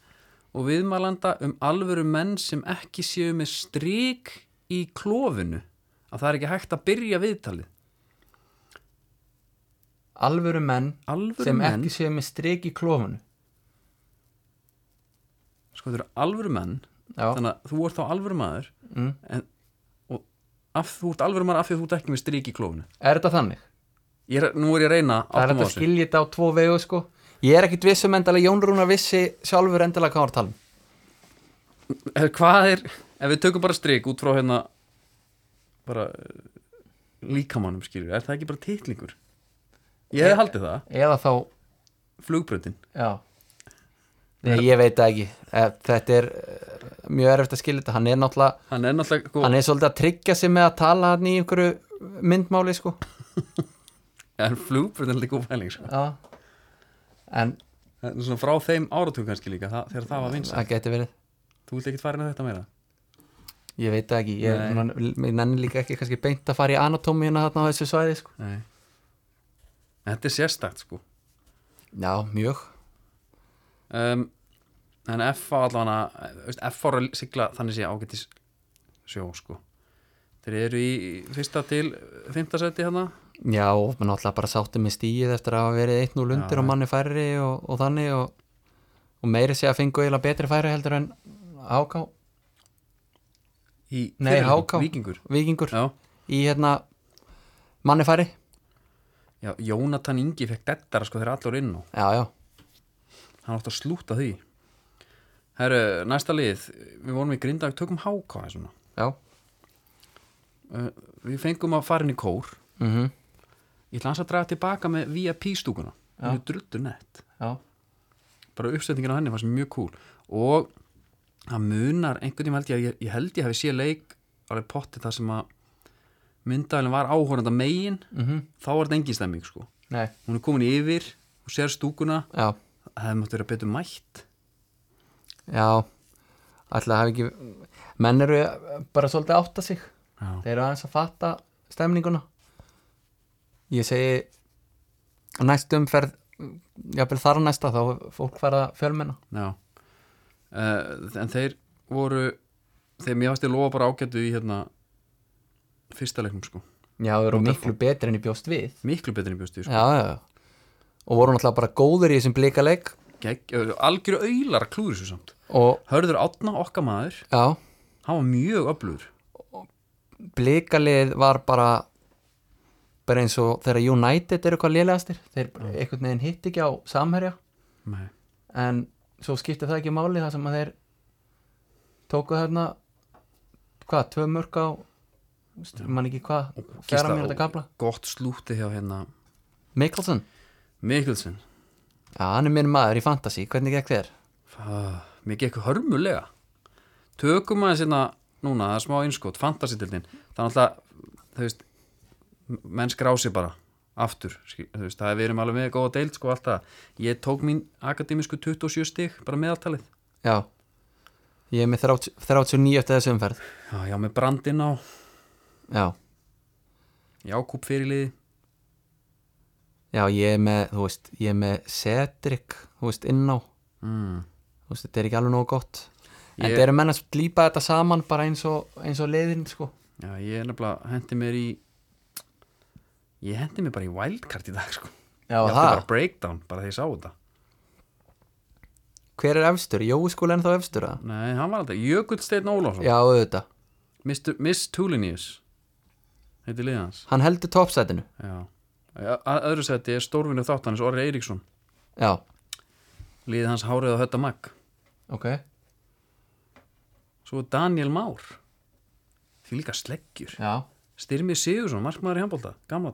S1: og viðmælanda um alvöru menn sem ekki séu með strik í klófinu að það er ekki hægt að byrja viðtalið
S2: alvöru menn
S1: alvöru
S2: sem
S1: menn
S2: ekki séu með strik í klófunu
S1: sko þetta eru alvöru menn
S2: Já.
S1: þannig að þú ert þá alvöru maður
S2: Mm.
S1: en, og af, þú ert alvöru maður af því að þú ert ekki með strík í klófinu
S2: er þetta þannig?
S1: ég er, nú er ég að reyna að átta
S2: það er
S1: mig á
S2: hægt að
S1: þessu.
S2: skilja þetta á tvo vegu sko ég er ekkit vissum endalega Jón Rúnar vissi sjálfur endalega hvað hann var að tala um
S1: Eh, hvað er, ef við tökum bara strík út frá hérna bara eh, líkamannum skilur er það ekki bara titlingur ég hefði haldið það,
S2: eða þá,
S1: flugbröndin
S2: já Nei, ég veit það ekki Eh, þetta er eh, mjög erfitt að skilja þetta hann er náttúrulega,
S1: hann er náttúrulega sko,
S2: hann er svolítið að tryggja sig með að tala hann í einhverju myndmáli sko
S1: en flugbröndin er líka úfæling sko.
S2: já en
S1: Það er svona frá þeim áratug kannski líka það, þegar það var vinsa,
S2: það geti verið
S1: þú vilt ekkit fara inn að þetta meira
S2: Ég veit það ekki, ég,
S1: Nei.
S2: man, ég nenni líka ekki kannski beint að fara í anatómíuna þarna á þessu svæði sko.
S1: Nei. En þetta er sérstakt sko
S2: Já, mjög
S1: um, en FH allavega þú veist, FH er að sigla þannig sé ágætis sjó sko þeir eru í fyrsta til fymtasæti hérna
S2: Já, og maður náttúrulega bara sátti með stíið eftir að hafa verið 1-0 undir
S1: Já.
S2: og manni færri og, og þannig og, og meiri sé að fengu eiginlega betri færi heldur en HK,
S1: í
S2: Nei,
S1: fyrirleiknum,
S2: HK.
S1: Víkingur
S2: vikingur
S1: já,
S2: í hérna manni færri
S1: já, Jónatan Ingi fekk dettara sko þeir eru allir inn á
S2: Já, já,
S1: hann átti að slúta því herru, næsta lið við vorum í grindag, tökum háká svona.
S2: já
S1: Uh, við fengum að fara inn í kór
S2: mm
S1: ég ætla hans að draga tilbaka með VIP stúkuna hún er drullu nett
S2: Já,
S1: bara uppsetningin á henni fannst mér mjög cool og það munar einhvern tíma held ég að ég, ég held ég hefði séð leik alveg potti þar sem að myndavælinn var áhornanda megin -hmm. þá var þetta engin stemming sko
S2: nei,
S1: hún er komin yfir, hún sér stúkuna
S2: já,
S1: það hefði mátt vera betur mætt
S2: já Ætla að hafa ekki menn eru bara svolítið að átta sig
S1: Já.
S2: Þeir eru aðeins að fatta stemninguna Ég segi næst umferð jafnvel þar á næsta þá er fólk fara fjölmenna
S1: Já. Uh, en þeir voru þeir mér fannst ég lofa bara ágættu í hérna fyrsta leiknum sko
S2: Já, þeir eru miklu betri enn í bjóst við
S1: miklu betur en bjóstu sko.
S2: Já, já, já og voru náttúrulega bara góðir í þessum blíkaleik
S1: Gegg- eh, algjöru auðlar að klúður svo samt
S2: og
S1: hörður átna okkar maður
S2: já,
S1: hann var mjög öflugur
S2: blíkalið var bara bara eins og þegar United eru eitthvað lélegastir þeir einhvern veginn hitt ekki á samherja
S1: Nei.
S2: en svo skipti það ekki máli þar sem að þeir tóku þarna hvað, tvö mörg á st- man ekki hvað, fjara
S1: Gísla,
S2: mér þetta kapla
S1: gott slúti hjá hérna
S2: Mikkelsen,
S1: Mikkelsen
S2: já hann er minn maður í fantasy hvernig gekk þér?
S1: Fá, mér gekk hörmulega tökum aðeins hérna núna það er smá einskot, fantasitildin þannig að þú veist menn skrási bara aftur skil- þú veist, það er við erum alveg með góða deild sko allt það, ég tók mín akademísku 27 stig, bara meðaltalið
S2: Já, ég er með 30 39 eftir þessu umferð
S1: já, já, með brandinn á
S2: já,
S1: Jákúb fyrirliði
S2: já ég er með, þú veist, ég er með Cedric, þú veist, inn á þú
S1: mm.
S2: veist, þetta er ekki alveg nógu gott en
S1: Ég-
S2: þeir eru menn að lípa þetta saman bara eins og, eins og leiðin sko
S1: já, ég er nefnilega hendi mér í ég hendi mér bara í wildcard í dag sko
S2: Já,
S1: ég átti
S2: það.
S1: bara breakdown, bara þegar ég sá þetta
S2: Hver er efstur? Jói skúli ennþá efstur að?
S1: Nei, hann var alltaf Jökull Steinn Ólafsson
S2: Já, auðvitað
S1: Mr. Miss Tulinius Heiti liðans
S2: Hann heldur toppsætinu
S1: Já Ö- að- Öðru seti er stórvinu þáttanis Orri Eiríksson
S2: Já,
S1: Liðið hans Hárið og Hötta Magg
S2: ok
S1: Svo er Daniel Már Því líka sleggjur
S2: Já,
S1: Styrmi Sigursson, markmaður í handbólta, gammal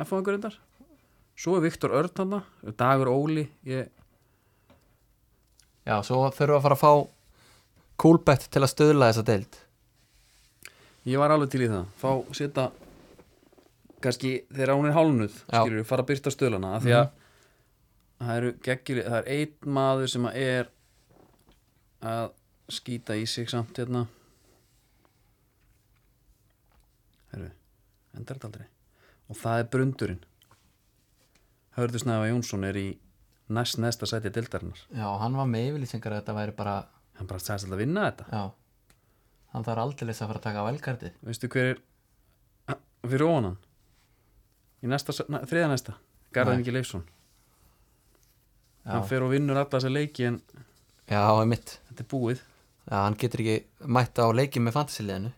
S1: F.O. einhver reyndar Svo er Viktor Örn hana Dagur Óli ég...
S2: já, svo þurfum við að fara að fá Coolbet til að stöðla þessa deild
S1: ég var alveg til í það Fá setja Kanski þegar hún er hálnuð
S2: Já.
S1: Skilur, fara að byrta stölana Af því að það eru geggjur það er einn maður sem að er að skýta í sig samt hérna Herru, endar þetta aldrei og það er brundurinn Hörður Snæfa Jónsson er í næst næsta sæti dildarinnar
S2: Já, hann var með yfirlýsingar að þetta væri bara
S1: hann bara sæðist alltaf að vinna þetta
S2: Já Hann þarf aldrei að fara að taka velkartið
S1: veistu hver er Ah, fyrir ofan hann í næsta, sæ- na- þriða næsta Garðan
S2: Nei.
S1: Ingi Leifsson hann
S2: Já,
S1: fer og vinnur alla þessa leiki en
S2: já einmitt
S1: þetta er búið
S2: Já, hann getur ekki mætt á leikið með fantasiliðinu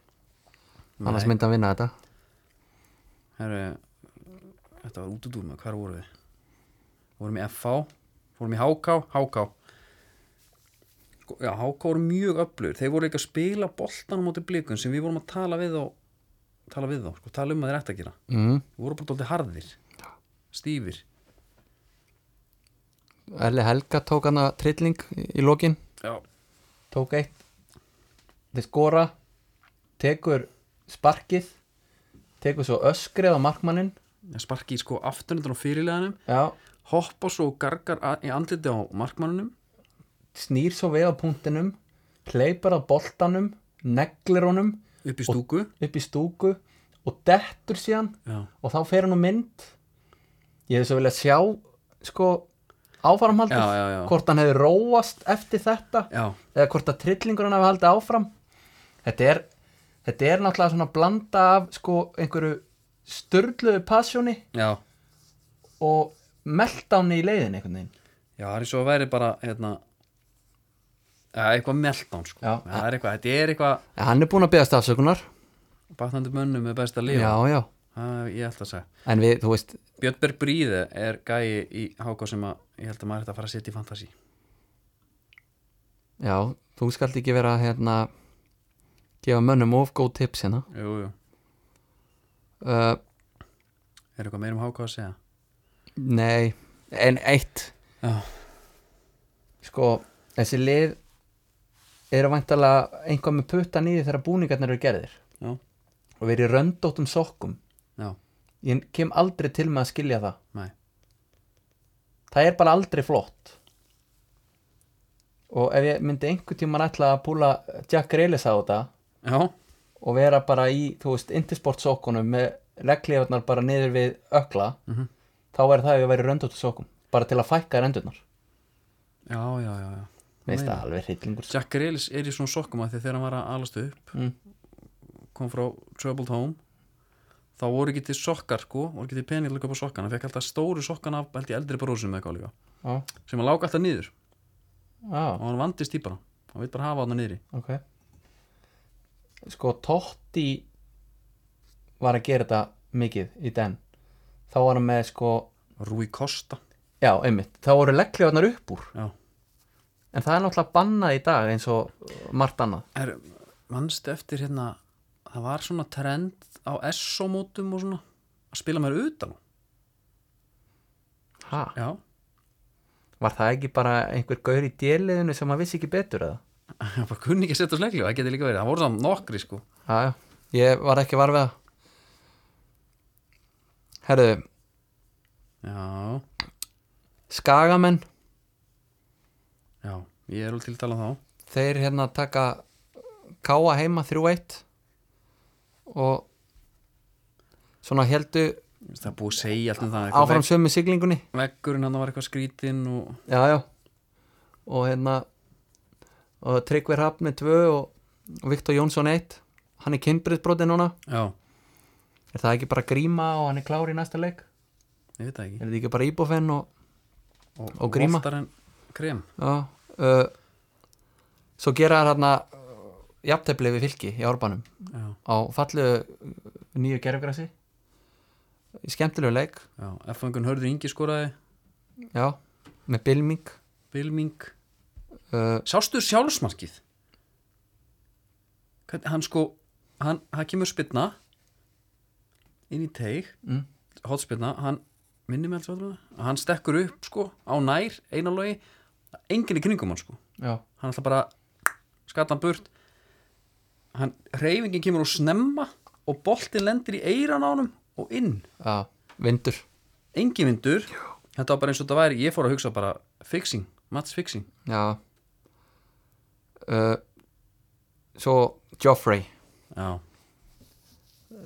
S2: Annars myndi hann vinna þetta
S1: Herru, þetta var út út úr maður, hvar voru við? Vorum í FH, vorum í HK, HK. Sko, Já, HK voru mjög öflur. Þeir voru ekki að spila boltanum móti blikun sem við vorum að tala við á, tala við á, sko, tala um að þeir ætti að gera.
S2: mm.
S1: Þeir voru bara dólti harðir, stífir.
S2: Erli Helga tók hann að trilling í í lokin
S1: Já,
S2: tók eitt þeir skora tekur sparkið tekur svo öskrið á markmannin
S1: sparki í sko afturundan á fyrirleganum,
S2: já,
S1: hoppa svo og gargar a- í andliti á markmannunum.
S2: snýr svo við á punktinum hleypar að boltanum neglir honum
S1: Upp í stúku
S2: upp í stúku og dettur síðan
S1: Já.
S2: og þá fer hann á mynd ég hefði svo viljað sjá sko áframhaldið
S1: Já, já, já.
S2: hvort hann hefði róast eftir þetta
S1: Já,
S2: eða hvort að trillingur hann hafi haldið áfram þetta er, þetta er náttúrulega svona blanda af sko einhverju störluðu passjóni
S1: já.
S2: og meldáni í leiðin einhvern veginn
S1: Já, það er svo að væri bara hérna, ja, eitthvað meltdown sko.
S2: Já.
S1: það er eitthvað, þetta er eitthvað
S2: en hann er búin að beðast afsökunar
S1: batnandi mönnum með besta
S2: já,
S1: líf
S2: já,
S1: það, ég held að segja
S2: en við, þú veist
S1: Björn Berg Bríði er gæi í háká sem að, ég held að maður er að fara að setja í fantasi
S2: já, þú skalt ekki vera hérna gefa mönnum of góð tips hérna
S1: Jú, jú,
S2: uh,
S1: er eitthvað meira um háká að segja
S2: nei, en eitt
S1: Já,
S2: sko, þessi lið eru vantalega einhvað með puttan í því þegar búningarnir eru gerðir
S1: já,
S2: og verið röndóttum sokkum
S1: já,
S2: ég kem aldrei til með að skilja það
S1: næ
S2: það er bara aldrei flott og ef ég myndi einhvern tímann ætla að púla Jack Grealis á þetta
S1: Já,
S2: og vera bara í, þú veist, intersport sokkunum með reglífarnar bara niður við ökla,
S1: Mhm.
S2: þá verður það ef ég væri röndóttum sokkum, bara til að fækka rendurnar
S1: já, já, já, já.
S2: Mér finnst það alveg hryllingur
S1: Jack Grealis er í svona sokkum að því þegar hann var að alast upp
S2: Mm.
S1: kom frá Troubled Home þá voru ekki til sokkar sko voru ekki til pening til að köpa sokkana hann fekk alltaf stóru sokkana af held ég eldri bróðsum eða eitthvað líka
S2: Já,
S1: sem að lága alltaf niður
S2: já
S1: og hann vandist í bara hann vil bara hafa hann niðri
S2: Ok Sko Totti var að gera þetta mikið í den þá var hann með sko
S1: Rúi Kosta
S2: já, einmitt, þá voru leggliðarnar upp úr
S1: já
S2: en það er náttúrulega bannað í dag eins og margt annað
S1: er, mannstu eftir hérna það var svona trend á SO-mótum og svona að spila mér utan á.
S2: ha.
S1: já
S2: Var það ekki bara einhver gaur í djeliðinu sem maður vissi ekki betur eða?
S1: hann bara kunni ekki að setja slegli það geti líka verið það voru samt nokkri sko
S2: Já, já, ég var ekki varfið það Herðu,
S1: já
S2: skagamenn
S1: já ég er alveg til að tala um þá
S2: þeir hérna taka káa heima 3-1 og svona heldu
S1: Þú veist, það er búið að segja allt um það eitthvað
S2: áfram sömu siglingunni
S1: vegg- veggurinn hann var eitthvað skrítinn og
S2: já, já. og hérna og Tryggvi Hrafn með 2 og, og Viktor Jónsson 1 hann er kynbriðbrotin núna
S1: já
S2: er það ekki bara gríma og hann er klár í næsta leik
S1: ég veit það ekki
S2: er það ekki bara íbofenn og
S1: og,
S2: Og gríma.
S1: oftar en krem
S2: já, uh, svo gera það hérna jafntefli við fylki í árbanum
S1: já
S2: á fallu nýju gerfgrassi skemmtilegu leik
S1: já F-fangun hörður Ingi skoraði
S2: Já, með Bilming
S1: Vilming
S2: uh,
S1: Sástu sjálfsmarkið? Hvern- Hann sko, hann, hann kemur spilna inn í teig,
S2: Mm.
S1: hotspilna, hann minni með alls að hann stekkur upp sko á nær einalögi, enginn í kringum hann sko,
S2: Já,
S1: hann ætla bara skatan burt hann, reyfingin kemur úr snemma og boltin lendir í eiran á honum og inn,
S2: já, vindur
S1: engin vindur Þetta var bara eins og þetta væri, ég fór að hugsa bara fixing, match fixing
S2: Já uh, Svo Joffrey
S1: Já,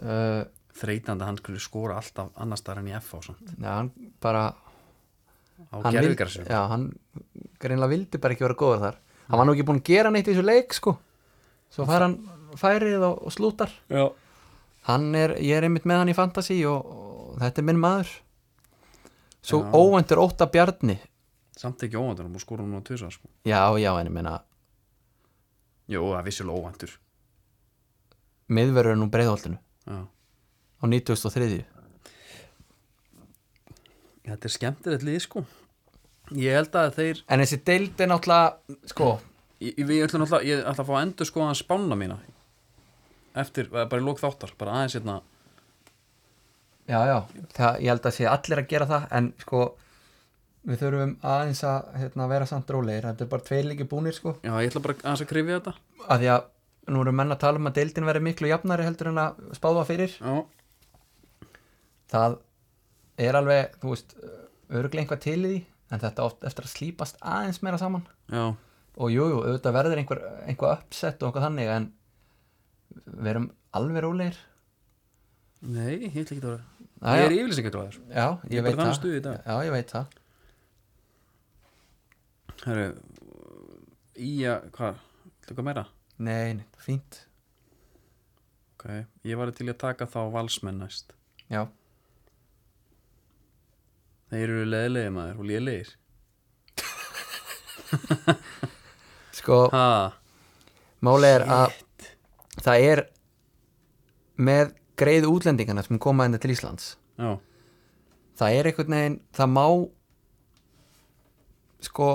S2: uh,
S1: þreytandi að hann skulle skora alltaf annars þar en í F á samt
S2: Já, hann bara
S1: Á
S2: hann
S1: gerðvíkar
S2: vildi- Já, hann greinlega vildi bara ekki vera góður þar Hann var nú ekki búinn að gera neitt í þessu leik sko Svo fær hann færið og, og slútar
S1: Já,
S2: Hann er, ég er einmitt með hann í fantasy og, og þetta er minn maður Svo
S1: Já.
S2: óvænt er óta bjarni
S1: samt ekki óvandur, hann búið skora núna tvisar sko
S2: Já, já, en ég meina
S1: Jó, það er vissilega óvandur
S2: miðverður er nú breiðholtinu
S1: Já.
S2: á 93.
S1: Þetta er skemmtilegt lið sko Ég held að þeir,
S2: En þessi deild er náttúrulega, sko
S1: ég, ég, ég ætla náttúrulega ég ætla að fá að endur skoða hann spána mína eftir, eh, bara í lók þáttar bara aðeins hérna,
S2: Já, já, það, ég held að sé allir að gera það en sko við þurfum aðeins að hérna, vera samt rólegir þetta er bara tveir líki búnir sko
S1: já, ég ætla bara aðeins að krifja þetta
S2: að því að nú eru menn að tala um að deildin veri miklu jafnari heldur en að spáða fyrir
S1: Já,
S2: það er alveg, þú veist örglega einhvað til í því en þetta oft eftir að slípast aðeins meira saman
S1: já,
S2: og jújú, jú, auðvitað verður einhver, einhver uppsett og eitthvað þannig en verum alveg rólegir
S1: nei, ég ætla ekki að vera
S2: Jæja.
S1: Ég er yfirlýsingatrú að þessu
S2: Já, ég,
S1: Ég er bara
S2: veit
S1: í þannig
S2: það
S1: stuði í dag.
S2: Já, ég veit það
S1: Herru, í að, hvað, ætla eitthvað meira?
S2: Nei, nei, fínt
S1: Ok, ég var til í að taka þá valsmenn næst
S2: Já,
S1: Þeir eru leðilegir maður og lélegir
S2: sko
S1: Ha,
S2: Máli er að það er með greið útlendingana sem koma enda til Íslands
S1: já,
S2: það er einhvern veginn, það má sko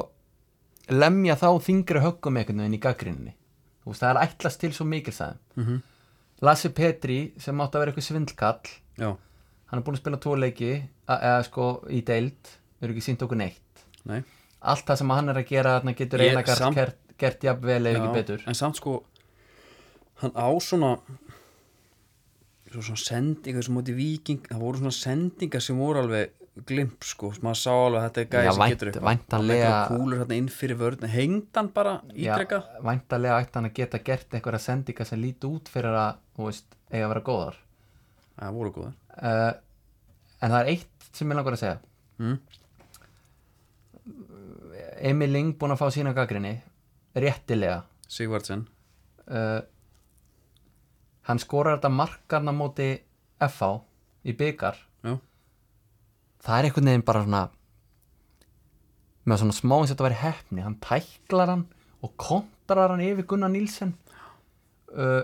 S2: lemja þá þingri höggum einhvern veginn í gaggrinni þú veist, það er ætlast til svo mikil það mm
S1: Mhm.
S2: Lassi Petri sem átti að vera eitthvað svindlkall
S1: já,
S2: hann er búin að spila tvo leiki a- eða sko í deild, þau eru ekki sínt okkur neitt
S1: nei
S2: allt það sem hann er að gera þarna getur
S1: Ég-
S2: eina
S1: samt-
S2: gert, gert jafnvel eða
S1: Já,
S2: ekki betur
S1: En samt sko Hann á svona Svo svona sendingar sem móti viking Það voru svona sendingar sem voru alveg glimp sko, sem maður sá alveg að þetta er
S2: Já,
S1: gæði sem
S2: vænt-
S1: getur
S2: væntanlega-
S1: Hann leikur kúlur hérna inn fyrir vörðin Hengd hann bara ítrekka
S2: Já, væntalega ætti hann að geta gert einhverja sendinga sem líti út fyrir að, þú veist, eiga að vera góðar.
S1: Það voru góðar
S2: Uh, en það er eitt sem ég langar að segja.
S1: Mm.
S2: Emil Ling búin að fá sína gaggrinni, réttilega.
S1: Sigvartsen,
S2: Uh, hann skorar þetta markarna móti FH í byggar.
S1: já,
S2: Það er einhvern veginn bara svona, með svona smá eins og þetta væri hefni. Hann tæklar hann og kontrar hann yfir Gunnar Nílsen. uh,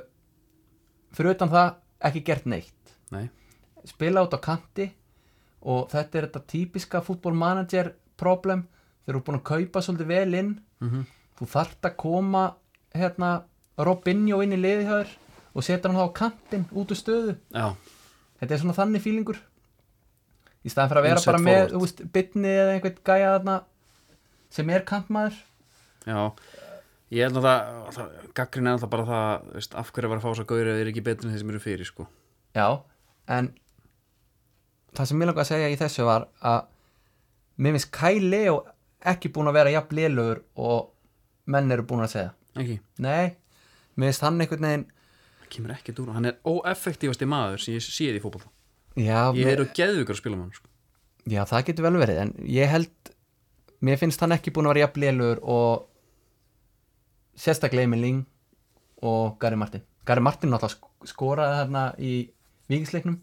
S2: fyrir utan það ekki gert neitt
S1: nei
S2: spila út á kanti og þetta er þetta típiska fútbolmanager problem þegar þú er búin að kaupa svolítið vel inn
S1: Mhm.
S2: -hmm. þú þarft að koma hérna Robinho inn í liðihöður og setja hann þá á kantin út úr stöðu
S1: Já,
S2: þetta er svona þannig fílingur í staðan fyrir að vera
S1: Inside
S2: bara með
S1: forward.
S2: þú veist, bitni eða einhvern gæja þarna sem er kantmaður
S1: já Ég held að það, það gaggrin er alltaf bara það þú veist, af hverju var að fá þess að gauri að þeir ekki betri en þeir sem eru fyrir sko
S2: Já, en það sem ég langar að segja í þessu var að mér finnst Kyle Leo ekki búin að vera jafn lélugur og menn eru búin að segja.
S1: Ekki,
S2: Nei, mér finnst hann einhvern veginn
S1: það kemur ekki dúr Hann er óeffektífasti maður sem ég séð í fótbolta
S2: já,
S1: Ég
S2: mér,
S1: er á geðvíkur að spila með hann sko.
S2: já, það getur vel verið en ég held, mér finnst hann ekki búin að vera jafn lélugur og sérstaklega Emil Ling og Gary Martin. Gary Martin náttúrulega sk- skoraði þarna í vikingsleiknum,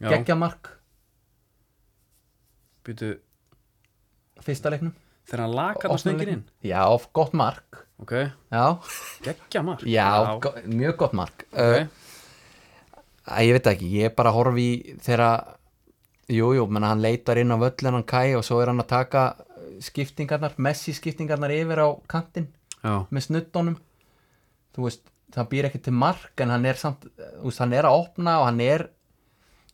S1: Já,
S2: geggja mark,
S1: býtu,
S2: fyrsta leiknum.
S1: þegar hann lakar það stöngin inn
S2: Já, gott mark.
S1: Ok,
S2: Já,
S1: geggja mark
S2: já, go mjög gott mark okay.
S1: ok.
S2: Ég veit það ekki, ég bara horfi í þegar Jújú, jú, menna hann leitar inn á völlin hann kæ og svo er hann að taka skiptingarnar, Messi skiptingarnar yfir á kantinn
S1: Já,
S2: með snuddónum þú veist, það býr ekki til mark en hann er samt, þú veist, hann er að opna og hann er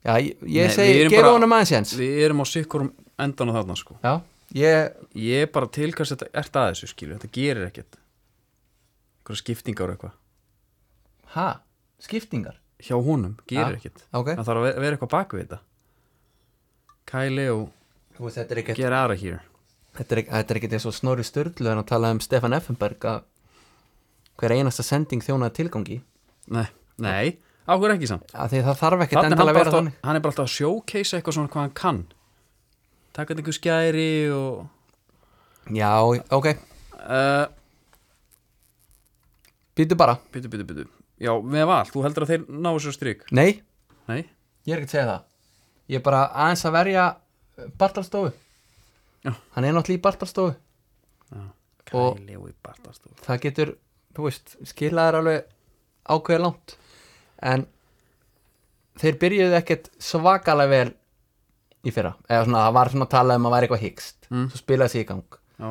S2: já, ég, ég
S1: Nei, við
S2: segi,
S1: erum
S2: gefa
S1: bara-
S2: honum aðeins jens
S1: við erum á sikkurum endan á þarna sko
S2: Já, ég,
S1: Ég er bara til hvers þetta ert að þessu skilu Þetta gerir ekkert Einhverja skiptingar og eitthvað
S2: ha, skiptingar
S1: Hjá honum, gerir
S2: Já,
S1: ekkert
S2: ok.
S1: Það þarf að ve- vera eitthvað bak við þetta Kæli og
S2: Þú veist, þetta er ekkert
S1: Get out of here
S2: þetta er, ekki- þetta er ekkert eins og Snorri Sturlu en að tala um Stefan Effenberg að hver einasta sending þjónaði tilgangi
S1: Nei, nei, áhver ekki samt
S2: að því það þarf ekkert
S1: Þannig hann,
S2: endilega að
S1: bara
S2: vera
S1: alltaf,
S2: þannig
S1: hann er bara alltaf að showcase eitthvað svona hvað hann kann Takk að einhver skæri og
S2: Já, ok, Eh,
S1: uh,
S2: býtu bara
S1: Byttu, byttu, byttu Já, með val, þú heldur að þeir ná þessu strik
S2: Nei,
S1: Nei,
S2: ég er ekkert að segja það Ég er bara aðeins að verja eh, Bartalstofu
S1: Já.
S2: Hann er náttúrulega í Bartalstofu Og-
S1: Kæli og í bartast og...
S2: Það getur, þú veist, skilaðar alveg ákveðið langt En þeir byrjuðu ekkert svakalega vel í fyrra Eða svona, það var svona að tala um að væri eitthvað hyggst
S1: Mm.
S2: Svo spilaði sig í gang
S1: Já,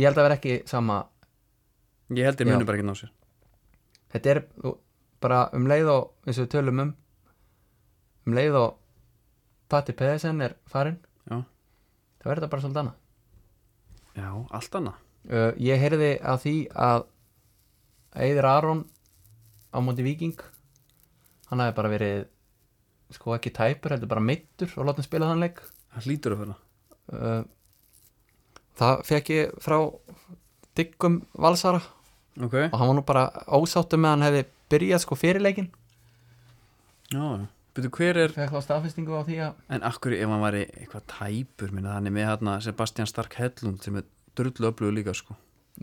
S2: Ég held að vera ekki sama
S1: ég held þeir
S2: Já.
S1: munum bara ekki ná sér
S2: Þetta er þú- bara um leið og eins og við tölum um um leið og Patti Pedersen er farinn
S1: Já,
S2: það verður þetta bara svolítið annað
S1: Já allt annað
S2: Uh, ég heyrði að því að Eður Aron á móti Viking hann hafi bara verið sko ekki tæpur, heldur bara meittur og látum spila þann leik
S1: Það hlýtur að fyrir
S2: uh, það fekk ég frá diggum valsara
S1: Ok,
S2: og hann var nú bara ósáttu með að hann hefði byrjað sko fyrir leikin
S1: já, byttu hver er
S2: fekk þá staðfestingu á því að
S1: En akkur ef hann væri eitthvað tæpur minna, hann er með hérna Sebastian Stark Hellund sem er drullu öflugur líka sko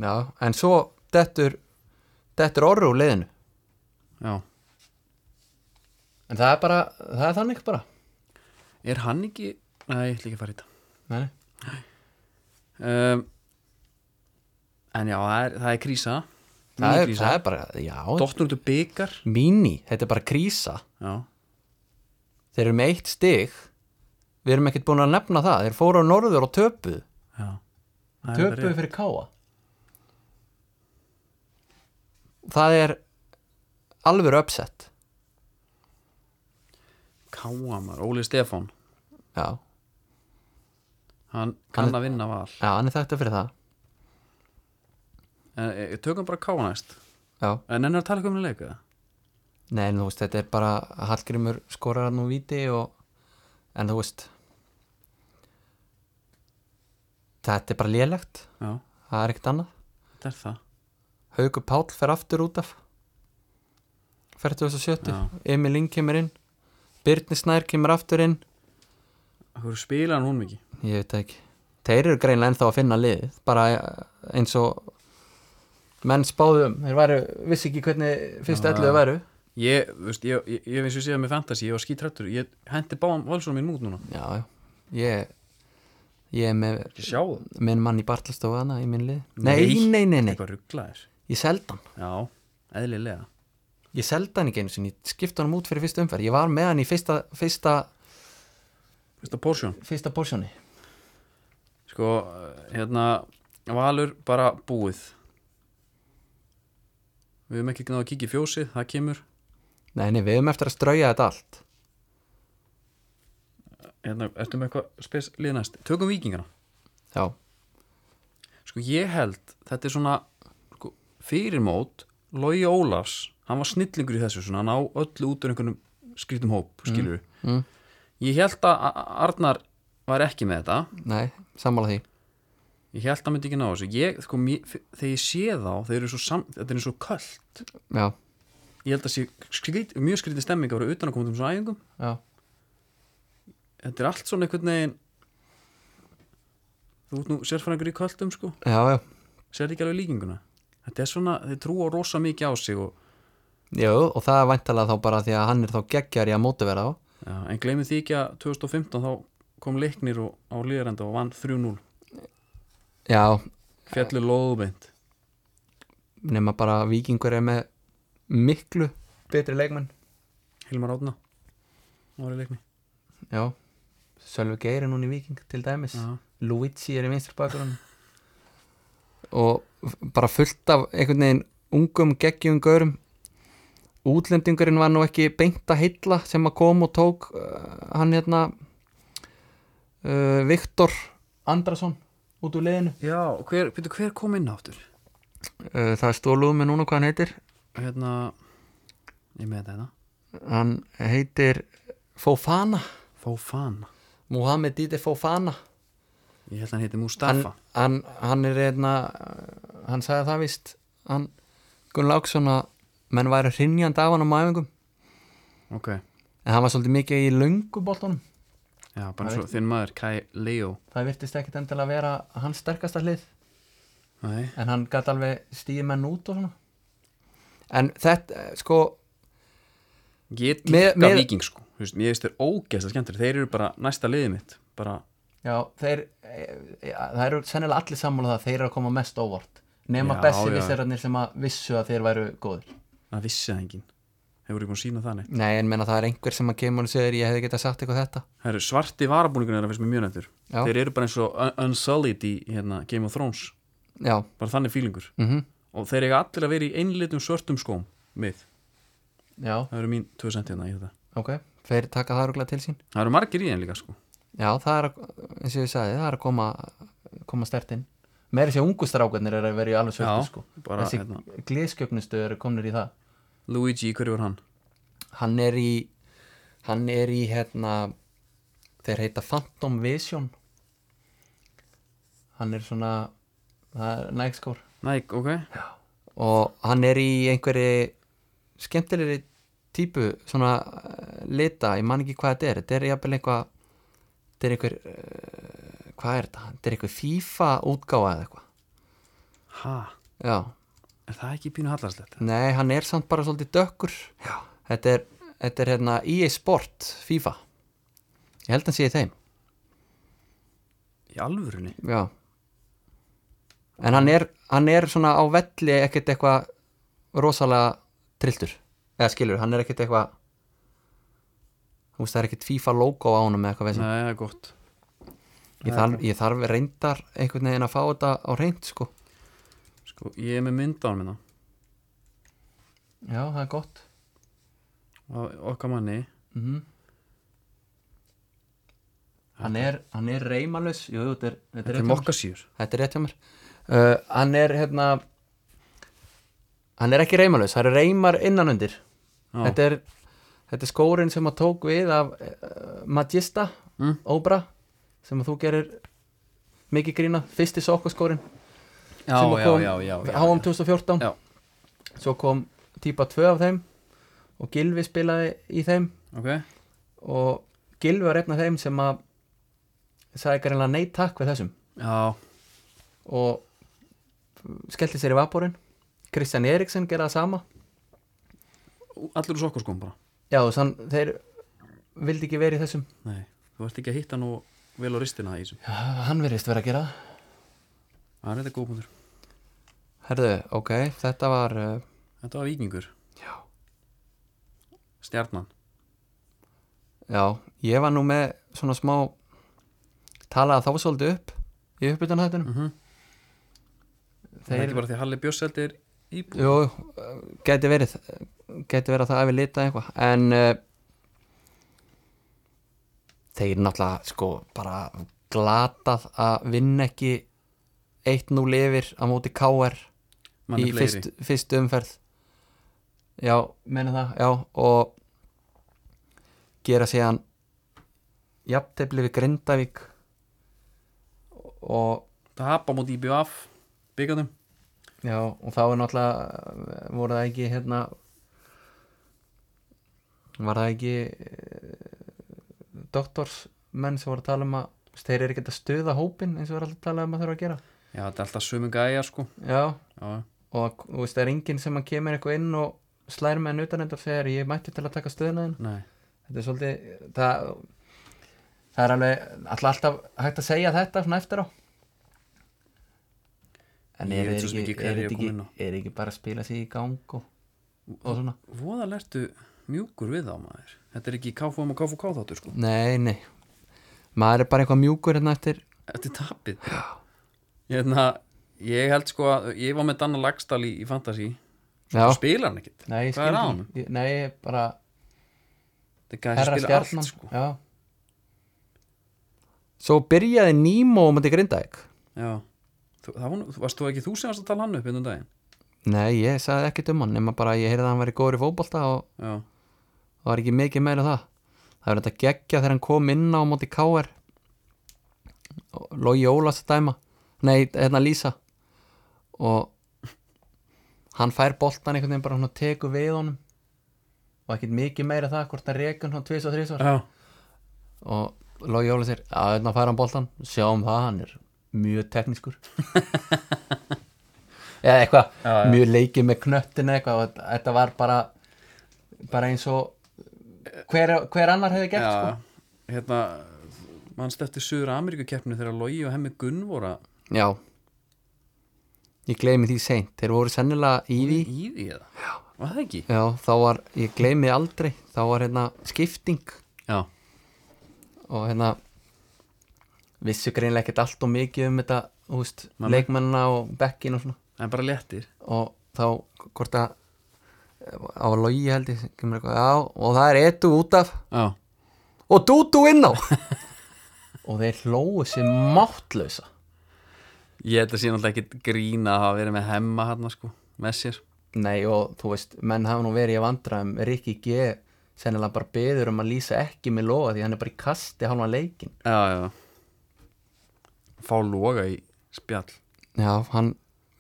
S2: já, en svo dettur dettur orru úr leiðinu
S1: Já,
S2: en það er bara, það er þannig bara
S1: er hann ekki Nei, ég ætla ekki að fara í
S2: Nei.
S1: þetta um, En já, það er, það er krísa
S2: það, er,
S1: Mini-krísa.
S2: það er bara, já
S1: Dottnur út og byggar
S2: mini, þetta er bara krísa
S1: Já,
S2: þeir eru með eitt stig við erum ekkert búin að nefna það þeir fóru á norður og töpuð
S1: já Það er
S2: töpuð
S1: rétt.
S2: fyrir káa það er alveg uppsett
S1: Káa maður, Óli Stefán
S2: já,
S1: Hann kann að vinna val
S2: já, hann er þetta fyrir það
S1: en, e, Tökum bara Káa næst
S2: já,
S1: En ennur að tala ekki um leika það?
S2: nei, en þú veist, þetta er bara Hallgrímur skorar hann úr viti og, en þú veist þetta er bara lélegt
S1: Já,
S2: það er ekkert annað
S1: þetta er það
S2: Haugur Páll fer aftur út af 47
S1: Já.
S2: Emil Ling kemur inn Birnir Snær kemur aftur inn
S1: Akkur spila hann hún mikið
S2: ég veit það ekki þeir eru greinlega ennþá að finna liðið bara eh, eins og menn spáðum, þeir væru, vissi ekki hvernig fyrst
S1: Já.
S2: elluðu væru
S1: Ég, þú veist, ég, ég, ég finnst við séða með fantasy, ég var skítrættur Ég hendi báðum valsónum mín út núna
S2: já, já, ég ég er með
S1: Ég sjá það
S2: minn mann í Bartlastofu hana í minn lið nei,
S1: Nei.
S2: nei, nei, nei,
S1: Eitthvað rugglaðir
S2: ég seldi hann
S1: Já, eðlilega
S2: ég seldi hann ekki einu sinni, ég skipti hann út fyrir fyrstu umferð ég var með hann í fyrsta fyrsta,
S1: Vist að porsjón
S2: fyrsta porsjóni
S1: Sko, hérna Valur bara búið Við höfum ekki náðu að kíkja í fjósið, það kemur
S2: Nei, nei, við höfum eftir að strauja þetta allt
S1: Hérna, ertu með eitthvað spes lið næst Tökum vikingana
S2: Já,
S1: Sko ég held, þetta er svona sko, fyrirmót, Logi Ólafs hann var snillingur í þessu, svona hann á öllu út úr einhvernum skrítum hóp skilur
S2: Mm, mm.
S1: ég held að A- A- Arnar var ekki með þetta
S2: nei, sammála því
S1: ég held að hann myndi ekki ná þessu ég, sko, mér, f- þegar ég sé þá, þeir eru svo sam, þetta er eins og köld
S2: Já,
S1: ég held að sé skrít, mjög skrítið stemming að vera utan að koma til þessum æfingum
S2: já,
S1: þetta er allt svona einhvern veginn þú ert nú sérfæringur í köldum sko
S2: já, já
S1: sér ekki alveg líkinguna þetta er svona, þeir trúa rosa mikið á sig og
S2: Jú, og það er væntalega þá bara því að hann er þá geggjari að mótiverða á
S1: Já, en gleymið því ekki að 2015 þá kom leiknir og, á líðarenda og vann 3-0
S2: Já,
S1: fjallu loðubind
S2: nema bara vikingur er með miklu betri leikmenn
S1: Hilmar Átna var í leikni
S2: Já, Sölvi Geir er núna í viking til dæmis
S1: Já,
S2: Luigi er í vinstri bakurinn og f- bara fullt af einhvern veginn ungum geggjum gaurum útlendingurinn var nú ekki beint að heilla sem að kom og tók uh, hann hérna uh, Viktor Andrason út úr liðinu
S1: Já hver, byrju, hver kom inn aftur?
S2: uh, það er stóluð með núna hvað hann heitir
S1: Hérna, ég með þetta hérna
S2: hann heitir Fofana
S1: Fofana
S2: Mohamed Dite Fofana
S1: Ég held að hann heiti
S2: hann,
S1: Mustafa
S2: hann, hann er einna hann sagði það víst hann Gunn Láksson að menn væri hrinjandi af hann á mæfingum
S1: Ok,
S2: en hann var svolítið mikið í lönguboltanum
S1: já, bara svo þinn maður, Kai Leo
S2: það virtist ekkit endilega að vera hans sterkasta hlið
S1: Nei,
S2: en hann gæti alveg stíði menn út og svona en þetta, eh, sko
S1: ég
S2: Með-
S1: líka
S2: með-
S1: viking sko Þú veist, Ég veist þér ógeðslega skemmtir Þeir eru bara næsta liðið mitt Bara,
S2: já, þeir e, e, það eru sennilega allir sammála um það að þeir eru að koma mest óvart nema
S1: Já,
S2: bessi
S1: já.
S2: vissirarnir sem að vissu að þeir væru góðir
S1: það vissi það enginn Þeir voru ekki búin að sína þannig
S2: nei, en menna það er einhver sem að kemur og segir ég hefði getað sagt eitthvað þetta
S1: Það eru svarti varabúningur þeirra finnst mér mjög nefndur
S2: Já.
S1: Þeir eru bara eins og Un- Unsullied í hérna, Game of Thrones
S2: já,
S1: Bara þannig fílingur
S2: mhm
S1: Og þeir eiga allir að vera í einlitum svörtum skóm Mið,
S2: já,
S1: það eru mín tvö senti hérna í þetta
S2: ok, þeir taka það rúglega til sín
S1: Það eru margir í þeim líka sko
S2: já, það er, að, eins og ég sagði, það er að koma koma stert inn meira þessi ungu strákarnir er að vera í alveg
S1: Já,
S2: svöldu sko
S1: bara
S2: þessi
S1: hérna.
S2: glískjöfnustu eru komnir í það
S1: Luigi, hverju var hann?
S2: hann er í hann er í hérna þeir heita Phantom Vision hann er svona það er nægskór
S1: Nike, ok
S2: og hann er í einhverju skemmtilegri típu svona eh, lita, ég man ekki hvað þetta er þetta er jafnvel einhvað þetta er einhver eh, hvað er þetta, þetta er einhver FIFA útgáfa eða eitthvað
S1: Ha,
S2: já,
S1: er það ekki pínu hallarslegt?
S2: nei, hann er samt bara svolítið dökkur já. þetta er, þetta er hérna EA Sport FIFA ég held að hann sé í þeim
S1: Í alvörunni?
S2: Já En hann er, hann er svona á velli ekkert eitthvað rosalega trilltur eða skilur, hann er ekkert eitthvað þú veist það er ekkert FIFA logo á honum eða eitthvað
S1: Nei,
S2: veginn
S1: það er gott
S2: ég, þarf- ég þarf reyndar einhvern veginn að fá þetta á reynd sko
S1: Sko, ég er með mynd á hann minna
S2: Já, það er gott
S1: Okkar manni
S2: Hann er, hann er reymalus Jú, jú, þetta er, þetta
S1: Þetta er mokkasýr
S2: Þetta er rétt hjá mér uh, Hann er hérna Hann er ekki reymalus, það er reymar innanundir
S1: Já.
S2: þetta er, þetta er skórin sem að tók við af uh, Magista,
S1: Mm.
S2: Obra sem að þú gerir mikið grína, fyrsti sokkaskórin
S1: Já,
S2: sem að
S1: já,
S2: kom
S1: já, já, já,
S2: HM 2014
S1: Já.
S2: svo kom típa 2 af þeim og Gilvi spilaði í þeim
S1: Ok,
S2: og Gilvi var einn af þeim sem að sagði greinlega nei takk við þessum
S1: já,
S2: og skellti sér í vaporinn Kristján Eriksen gera það sama
S1: allir úr sokkaskóm bara
S2: já og þann, þeir vildi ekki verið þessum
S1: Nei, þú ert ekki að hitta nú vel á ristina í þessum
S2: já, hann verðist vera að gera það
S1: Það er þetta góðbundur
S2: herðu, ok, þetta var uh,
S1: Þetta var vikingur
S2: já.
S1: Stjarnan
S2: já, ég var nú með svona smá talaði þá svolítið upp í uppbytun þetta mm
S1: Mhm. Það er
S2: þeir,
S1: ekki bara því að Halli Bjösseldi er íbúð
S2: jú, uh, gæti verið gæti verið að það hefði litað eitthvað en uh, þeir náttúrulega sko bara glatað að vinna ekki 1-0 yfir á móti KR
S1: Mann
S2: í
S1: er fleiri
S2: fyrst, fyrst umferð já, menna það já, og gera síðan jafntefli við Grindavík og
S1: Tapa mót IBF Byggandum
S2: já, og þá er náttúrulega voru það ekki hérna var það ekki eh, doktorsmenn sem voru að tala um að þú veist, þeir eru ekki að stuða hópin eins og er alltaf talað um að þurfa að gera
S1: Já, þetta er alltaf sömu gæja sko
S2: já,
S1: Já,
S2: og þú veist, það er enginn sem að kemur eitthvað inn og slær með henn utan þetta og segir ég mætti til að taka stöðuna þinn
S1: nei
S2: þetta er svolítið það, það er alveg alltaf, alltaf hægt að segja þetta svona eftir á en
S1: Ég
S2: er,
S1: veit
S2: er,
S1: svo sem
S2: ekki,
S1: ekki hvað
S2: er,
S1: er ég að
S2: ekki,
S1: koma inn á.
S2: er ekki bara að spila sig í gang og, og svona
S1: Voða lertu mjúkur við þá maður Þetta er ekki KFM og KFK þáttur sko
S2: nei, nei maður er bara eitthvað mjúkur hérna eftir
S1: Þetta er tapið Hérna, ég held sko að Ég var með Danna Lagstall í, í Fantasí
S2: já,
S1: Spilar hann ekkit
S2: nei, ég
S1: Hvað er
S2: skil
S1: á
S2: ekki.
S1: honum?
S2: Ég- nei, ég bara
S1: Þetta er gæði
S2: herra
S1: að spila allt
S2: stjarnan
S1: sko
S2: já svo byrjaði Nemo um þetta grindaðik
S1: Já Þú, það var, nú- þú- varst þú ekki þú sem varst að tala hann upp hérna um daginn?
S2: Nei, ég sagði ekkert um hann nema bara að ég heyrði að hann væri góður í fótbolta og
S1: Já,
S2: og var ekki mikið meira það Það er þetta geggja þegar hann kom inn á móti KR og Logi Ólafs að dæma nei, hérna Lísa og hann fær boltan einhvern veginn bara hann tekur við honum og ekkert mikið meira það hvort hann rekur hann tvis og þrís
S1: já,
S2: og Logi Ólafs er að hérna fær hann boltan sjáum það, hann er mjög teknískur eða eitthvað,
S1: Já, já.
S2: mjög leikið með knöttin eitthvað og þetta var bara bara eins og hver, hver annar hefði gert sko.
S1: já. hérna mannst eftir Suður Ameríku keppni þegar Logi og Hemmi Gunn voru að-
S2: Já Ég gleymi því seint, þeir voru sennilega í því
S1: í því eða var það ekki?
S2: Já, þá var, ég gleymi því aldrei Þá var hérna skipting
S1: já,
S2: Og hérna Vissu greinlega ekkert allt og mikið um þetta Þú veist,
S1: Nei, nei.
S2: leikmennina og bekkin og svona
S1: en bara léttir
S2: Og þá, hvort að Á logi held ég kemur eitthvað, Já, og það er etu út af
S1: já,
S2: Og dúdú inn á Og þeir hlóu sér máttlausa
S1: ég held að sé náttúrulega ekki grína að hafa verið með Hemma hann sko, með sér
S2: Nei og þú veist, menn hafa nú verið í vandræðum Rikki G sennilega bara beður um að lýsa ekki með loga því hann er bara í kasti halvan leikin
S1: já, já fá loga í spjall
S2: Já, hann,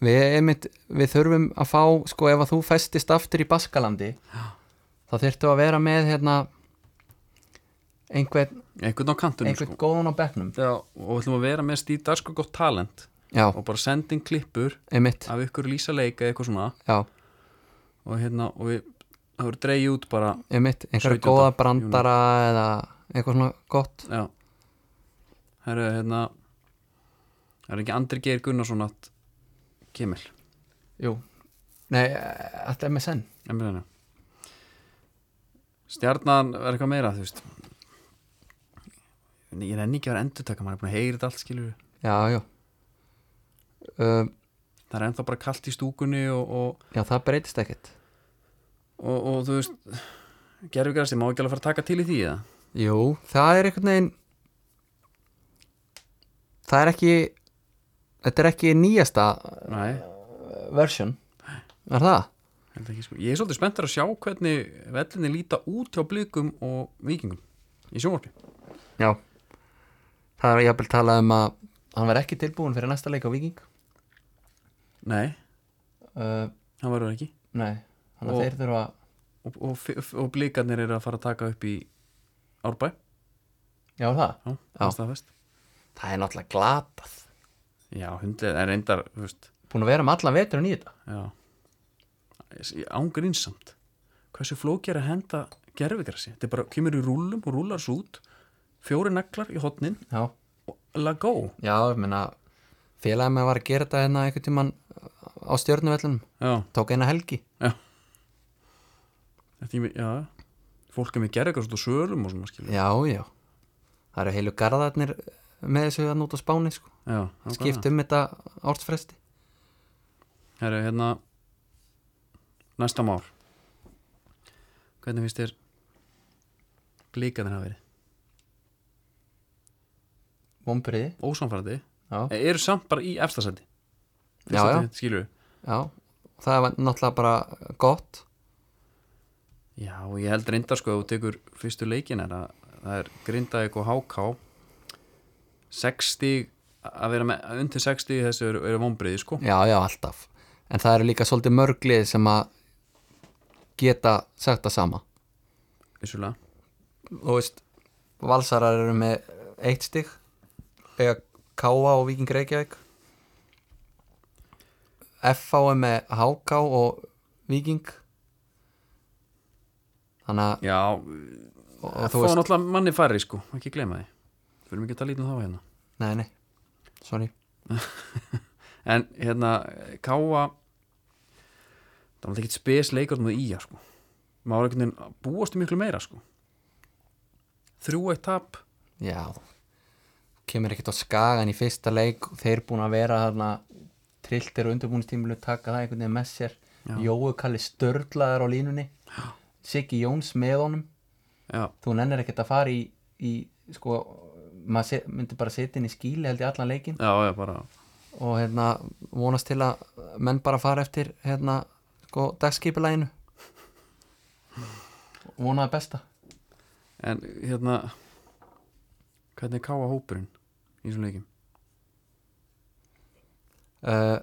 S2: við, einmitt, við þurfum að fá, sko ef að þú festist aftur í Baskalandi Já. þá þyrftu að vera með hérna einhvern,
S1: einhvern á kantunum
S2: einhvern
S1: sko
S2: góðan á bekknum
S1: já, og við ætlum að vera með Steve Darsko gott talent
S2: Já,
S1: og bara senda inn klippur
S2: einmitt,
S1: af ykkur lýsa leika eða eitthvað svona
S2: já,
S1: og hérna, og við það voru dreigið út bara
S2: einmitt einhverja
S1: 17.
S2: góða brandara eða eitthvað svona gott
S1: já herru, hérna það er ekki Andri Geir Gunnarsson að kemil
S2: Jú, nei, e, þetta er með senn
S1: emrjana stjarnan er eitthvað meira þú veist ég er enn ekki að vera endurtaka maður er búin að heyra þetta allt skilur
S2: Já, já um,
S1: það er ennþá bara kalt í stúkunni og, og
S2: Já, það breytist ekkert
S1: og, og þú veist gerfugrassi, má ekki alveg fara að taka til í því eða?
S2: Jú, það er einhvern veginn Það er ekki Þetta er ekki nýjasta
S1: Nei,
S2: version Er það?
S1: held ekki sko Ég er svolítið spenntur að sjá hvernig vellinni líta út hjá blikum og vikingum í sjónvarpi
S2: Já Það er jafnvel talað um að Hann var ekki tilbúin fyrir næsta leik á Viking
S1: Nei,
S2: uh,
S1: hann verður ekki
S2: Nei, þannig að
S1: Og-
S2: þeir þurfa
S1: og, og, f- og blikarnir eru að fara að taka upp í Árbæ
S2: Já, er það?
S1: Já,
S2: Já.
S1: það er staðfest.
S2: Það er náttúrulega glatað
S1: Já, hundið er reyndar, þú veist
S2: Búin að vera um allan veturinn í þetta
S1: Já Ángrinsamt Hversu flóki er að henda gerfugrassi Þetta er bara, kemur í rúlum og rúlar svo út Fjóri naglar í hotnin
S2: Já,
S1: og la go
S2: já, ég meina Félagið með var að gera þetta hérna einhvern tímann uh, á stjörnuvellunum
S1: Já
S2: Tók eina helgi
S1: Já Þetta ég, já Fólk er með gerð eitthvað svona sölum og svona skilur
S2: Já, já Það eru heilu garðarnir með þessu að nota spáni sko.
S1: Já,
S2: Skipt um þetta ártfresti
S1: Það er hérna Næsta mál Hvernig finnst þér Blíkanir hafa verið
S2: Vombriði
S1: Ósamfærandi
S2: Já,
S1: Eh, Eru samt bara í efstasæti
S2: já, já,
S1: Skilur við
S2: já Það var náttúrulega bara gott
S1: Já, og ég held reyndar sko að þú tekur fyrstu leikin er að það er grindaðik og háká 60 að vera með undir 60 í þessu eru, eru vonbriði sko
S2: Já, já, alltaf En það eru líka svolítið mörglið sem að geta sagt það sama
S1: vissulega
S2: Þú veist, valsarar eru með eitt stig Ega Káa og Víking Reykjavík FH er með HK og Víking Þannig að
S1: Já,
S2: og, og
S1: það
S2: þú
S1: var
S2: veist,
S1: náttúrulega manni færri sko, ekki gleyma því Við erum ekki að tala lítið um þá hérna
S2: nei, nei sorry,
S1: En hérna, Káa Það var ekki spes leikur með Ía sko Maður var einhvern veginn að búast í miklu meira sko Þrjú eitt tap
S2: já kemur ekkert á skagan í fyrsta leik og þeir búin að vera þarna trilltir og undirbúinstímilu taka það einhvern veginn með sér Jóu kalli störlaðar á línunni já. Siggi Jóns með honum
S1: Já,
S2: þú nennir ekkert að fara í, í sko, maður se- myndi bara setja inn í skíli held í allan leikin
S1: já, já, bara
S2: og hérna vonast til að menn bara fara eftir hérna, sko, dagskipulæginu vonaði besta
S1: En hérna Hvernig er Káa hópurinn í þessum leikim?
S2: uh,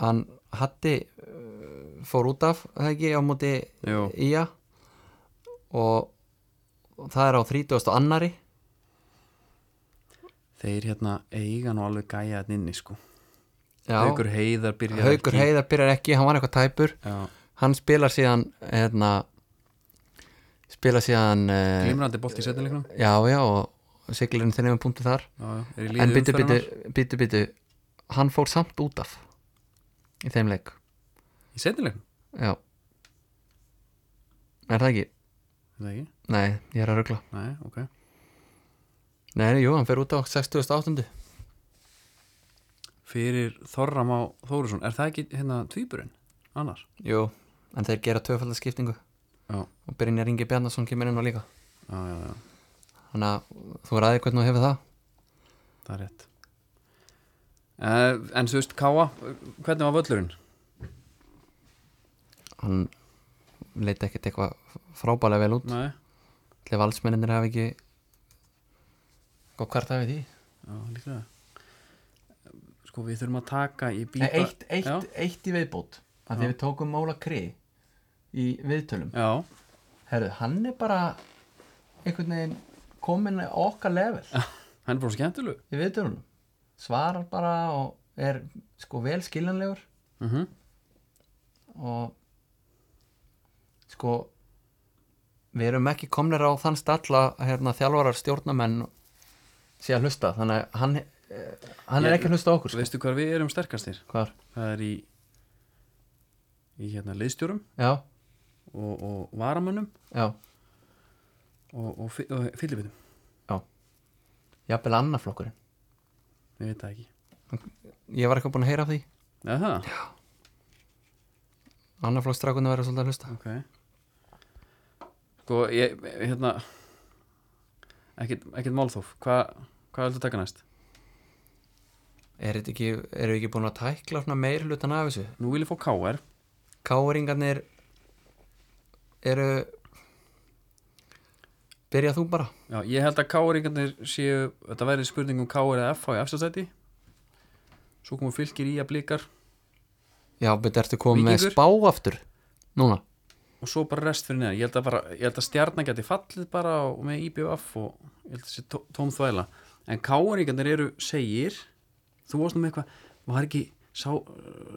S2: hann Hatti uh, fór út af það ekki á móti
S1: Jú.
S2: Ía og, og það er á 30. annari
S1: Þeir hérna eiga nú alveg gæja þetta inni sko
S2: Já,
S1: Haukur Heiðar byrjar
S2: Haukur
S1: ekki.
S2: Heiðar byrjar ekki, hann var eitthvað tæpur
S1: Já,
S2: hann spilar síðan hérna, spilar síðan uh,
S1: glimrandi bolt í setnileiknum
S2: já, já, og siglirinn þeirnum punktu þar
S1: Já, já, er í
S2: en
S1: liði
S2: byttu, byttu,
S1: umferðarnar
S2: byttu, byttu hann fór samt út af í þeim leik
S1: Í setnileiknum,
S2: já er það ekki?
S1: er það ekki?
S2: Nei, ég er að rögla
S1: Nei, ok
S2: Nei, jú, hann fer út á 68.
S1: Fyrir Þorram á Þórusson Er það ekki hérna tvíburinn? Annars?
S2: Jú, en þeir gera tvöfaldarskiptingu
S1: Já,
S2: og Brynjar Ingi Bjarnason kemur inn á líka
S1: já, já, já,
S2: þannig að þú ræðir hvernig þú hefur það
S1: það er rétt uh, En þú veist, Káa, hvernig var völlurinn?
S2: hann leit ekkert eitthvað frábælega vel út
S1: Nei,
S2: Þegar valsmenninir hafi ekki Góð kvart hafi því
S1: já, líklega Sko, við þurfum að taka í
S2: Nei,
S1: bíta
S2: eitt,
S1: Já,
S2: eitt, eitt í viðbót að því við tókum Móla Kri í viðtölum
S1: já
S2: Herðu, hann er bara einhvern veginn kominn á okkar level
S1: hann er bara skemmtilegu
S2: í viðtölunum svarar bara og er sko vel skiljanlegur
S1: uh -huh.
S2: og sko við erum ekki komnir á þann stall að hérna, þjálfarar stjórnamenn sé að hlusta þannig að hann, eh, hann er
S1: Ég-
S2: ekki að hlusta á okkur sko.
S1: Veistu hvað við erum sterkastir?
S2: hvar,
S1: Það er í í hérna liðstjórum
S2: já,
S1: og, og varamönnum
S2: já
S1: og, og, fi- og fyllibitum
S2: jafnvel annaflokkurinn,
S1: ég veit það ekki
S2: ég var eitthvað búin að heyra af því
S1: Eða það?
S2: annaflokkstrakunni verður svolítið að hlusta
S1: Ok Sko, ég, hérna ekkert, ekkert málþóf hvað hva viltu taka næst?
S2: er þetta ekki, erum við ekki búin að tækla svona meir hlutan af þessu
S1: Nú vil ég fá K.R.
S2: káringarnir eru byrjað þú bara
S1: Já, ég held að K.R.ingarnir séu þetta væri spurning um K.R. eða F.H. í efstastæti svo komum fylgir í að blikar
S2: já, betur ertu komið með
S1: Víkingur?
S2: spá aftur núna
S1: og svo bara rest fyrir neðan ég held að, bara, ég held að stjarnan geti fallið bara og með IBF og ég held að þessi tó, tóm þvæla en káaríkandir eru segir þú varst nú með eitthvað var ekki, sá,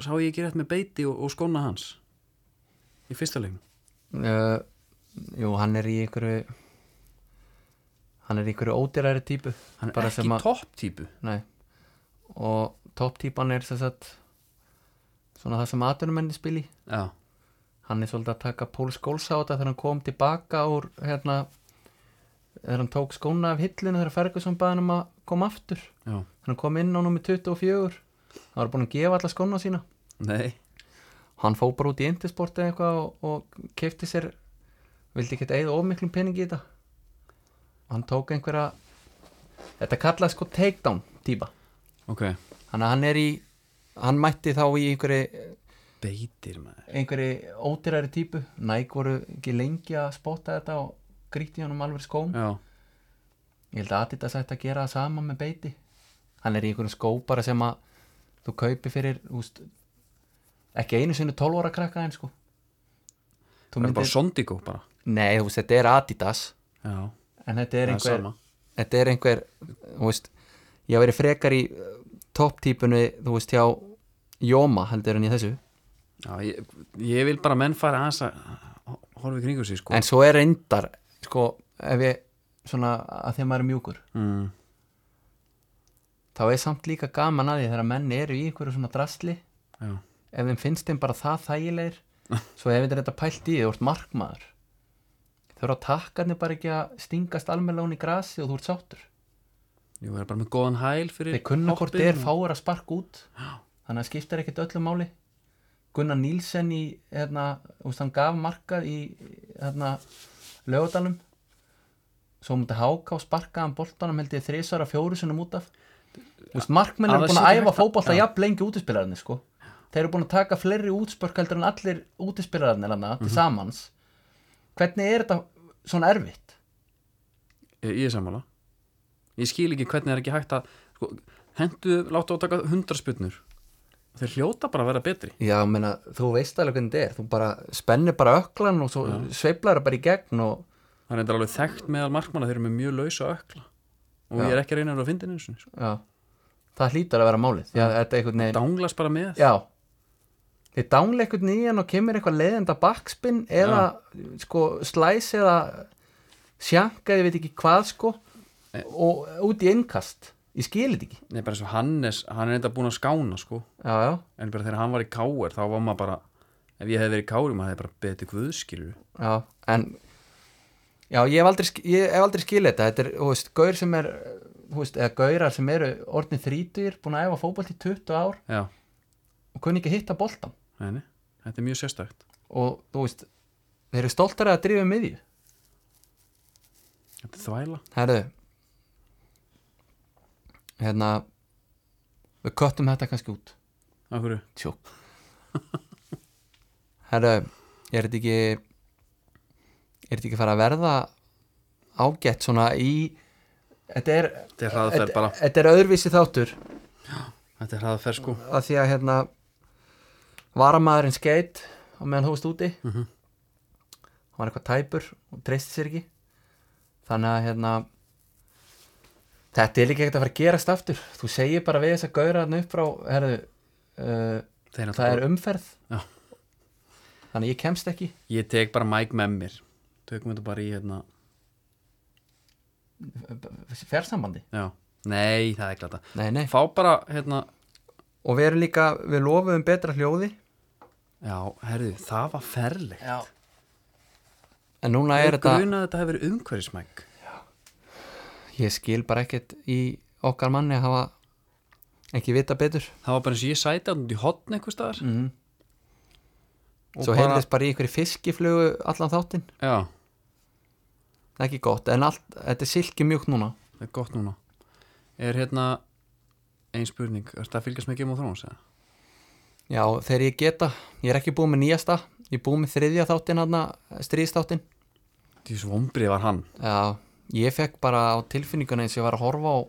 S1: sá ég ekki rétt með beiti og, og skóna hans í fyrsta leiknum
S2: Uh, jú, hann er í einhverju hann er í einhverju ódýræri típu
S1: hann
S2: Bara
S1: er
S2: sem
S1: ekki
S2: að-
S1: topp típu
S2: Nei. og topptípan er sem sagt svona það sem atvinnumenni spili
S1: já,
S2: hann er svolítið að taka Pól Skóls á þetta þegar hann kom tilbaka úr hérna þegar hann tók skóna af hillinu þegar Ferguson baði hann um að koma aftur
S1: já,
S2: þegar hann kom inn á nummi 24 hann var búin að gefa alla skóna sína
S1: nei
S2: hann fó bara út í Intersport eða eitthvað og, og kefti sér vildi ekki eitthvað of miklum peningi í þetta og hann tók einhverja þetta kallaði sko takedown típa
S1: ok,
S2: þannig að hann er í hann mætti þá í einhverju
S1: beitir maður
S2: einhverju ódýrari típu næg voru ekki lengi að spotta þetta og gríti hann um alveg skóm
S1: já,
S2: ég held að Adidas ætti að gera það sama með beiti hann er í einhverjum skó bara sem að þú kaupi fyrir úst, ekki einu sinni 12 ára krakka einn sko Þú
S1: það er
S2: myndir-
S1: bara sondíkó bara
S2: Nei, þú veist, þetta er Adidas
S1: já,
S2: En þetta er
S1: það er
S2: einhver
S1: sama
S2: Þetta er einhver, þú veist Ég haf verið frekar í eh, topptípunni Þú veist, hjá Jóma heldur en í þessu
S1: já, ég, ég vil bara að menn fara aðeins að horfa í kringu sig sko
S2: En svo er reyndar, sko Ef ég, svona, að því að maður er mjúkur
S1: mm,
S2: Þá er samt líka gaman að því Þegar menn eru í einhverju svona drasli
S1: já,
S2: Ef þeim finnst þeim bara það þægilegir Svo ef þetta er þetta pælt í því, þú ert markmaður Þau eru að takkarnir bara ekki að stingast almennlega hún í grasi og þú ert sáttur
S1: jú, það er bara með góðan hæl fyrir
S2: Þeir kunna hvort
S1: hoppið
S2: er
S1: og-
S2: fáir að sparka út Þannig að skiptar ekkert öllu máli Gunnar Nílsen í hérna, úst, hann gaf markað í hérna, lögadalum Svo múti háka og sparka hann boltanum held ég þrisvar að fjóru sinnum út af úst, Markmenn
S1: að það
S2: eru búin
S1: sé
S2: að
S1: ekki
S2: æfa
S1: hægt að-
S2: fótbolta
S1: já.
S2: jafn lengi útispilarinnir sko Þeir eru búin að taka fleiri útspörk heldur en allir útispilarinnir hann
S1: Mhm.
S2: til samans Hvernig er þetta svona erfitt?
S1: Ég, ég er sammála Ég skil ekki hvernig það er ekki hægt að sko, hendu, láttu á að taka hundra spurnur þeir hljóta bara að vera betri
S2: Já, ég meina, þú veist alveg hvernig þetta er þú bara spennir bara öklan og svo sveiflar það bara í gegn og
S1: það er reyndar alveg þekkt meðal markmanna þeir eru með mjög lausa ökla og ég er ekki að reyna að finna einu sinni sko.
S2: já, það hlýtar að vera málið því að þetta er einhvern veginn
S1: danglas bara með
S2: já, þið dánlega einhvern nýjan og kemur eitthvað leiðenda backspin eða sko slæs eða sjanka, ég veit ekki hvað sko og út í innkast ég skilit ekki
S1: Nei, bara eins og Hannes, hann er enda búin að skána sko.
S2: já, já,
S1: en bara þegar hann var í káir þá var maður bara, ef ég hefði verið í káir maður hefði bara betið guðskilur
S2: já, en já, ég hef aldrei, sk- ég hef aldrei skilit þetta þetta er, þú veist, gaur sem er þú veist, eða gaurar sem eru orðnið þrítugir búin að æfa fótbolt í 20 ár
S1: já,
S2: og kunni ekki að hitta boltan
S1: neini, þetta er mjög sérstakt
S2: og þú veist, þeir eru stoltar að drifa miðju
S1: þetta er þvæla
S2: Herðu Hérna Við köttum þetta kannski út
S1: Af hverju?
S2: Tjó Herðu, er þetta ekki Er þetta ekki að fara að verða ágætt svona í Þetta er
S1: Þetta er hraðferð bara.
S2: Þetta er öðruvísi þáttur
S1: þetta er hraðferð sko
S2: að því að hérna varamaðurinn skeitt á meðan þú varst úti
S1: Mhm.
S2: hann var eitthvað tæpur og treysti sér ekki þannig að hérna þetta er líka ekkert að fara að gerast aftur þú segir bara við þess að gauðra hann upp frá herðu, uh,
S1: Þeir náttúrulega
S2: það er umferð
S1: Já.
S2: þannig að ég kemst ekki
S1: Ég tek bara Mike með mér Tökum þetta bara í hérna
S2: fjársambandi
S1: Já, nei, það er glata
S2: nei, nei.
S1: Fá bara hérna
S2: og við erum líka, við lofum betra hljóði
S1: Já, herðu, það var ferlegt
S2: Já. en núna
S1: Ég
S2: er þetta
S1: gruna að þetta hefur verið umhverfismæk
S2: ég skil bara ekkert í okkar manni að hafa ekki vita betur
S1: Það var bara eins og ég sæti hann út í hotn einhvers staðar
S2: mm.
S1: Mhm. Og
S2: svo
S1: bara-
S2: heyrðist bara í einhverju fiskiflugu allan þáttinn,
S1: Já,
S2: það er ekki gott en allt, þetta er silki mjúkt núna
S1: það er gott núna Er hérna ein spurning, er þetta að fylgjast með Game of Thrones? eða?
S2: já, þegar ég geta, ég er ekki búið með nýjasta ég er búið með þriðja þáttinn hann stríðstáttin,
S1: Því svo vombrið var hann
S2: já, ég fekk bara á tilfinninguna eins og ég var að horfa á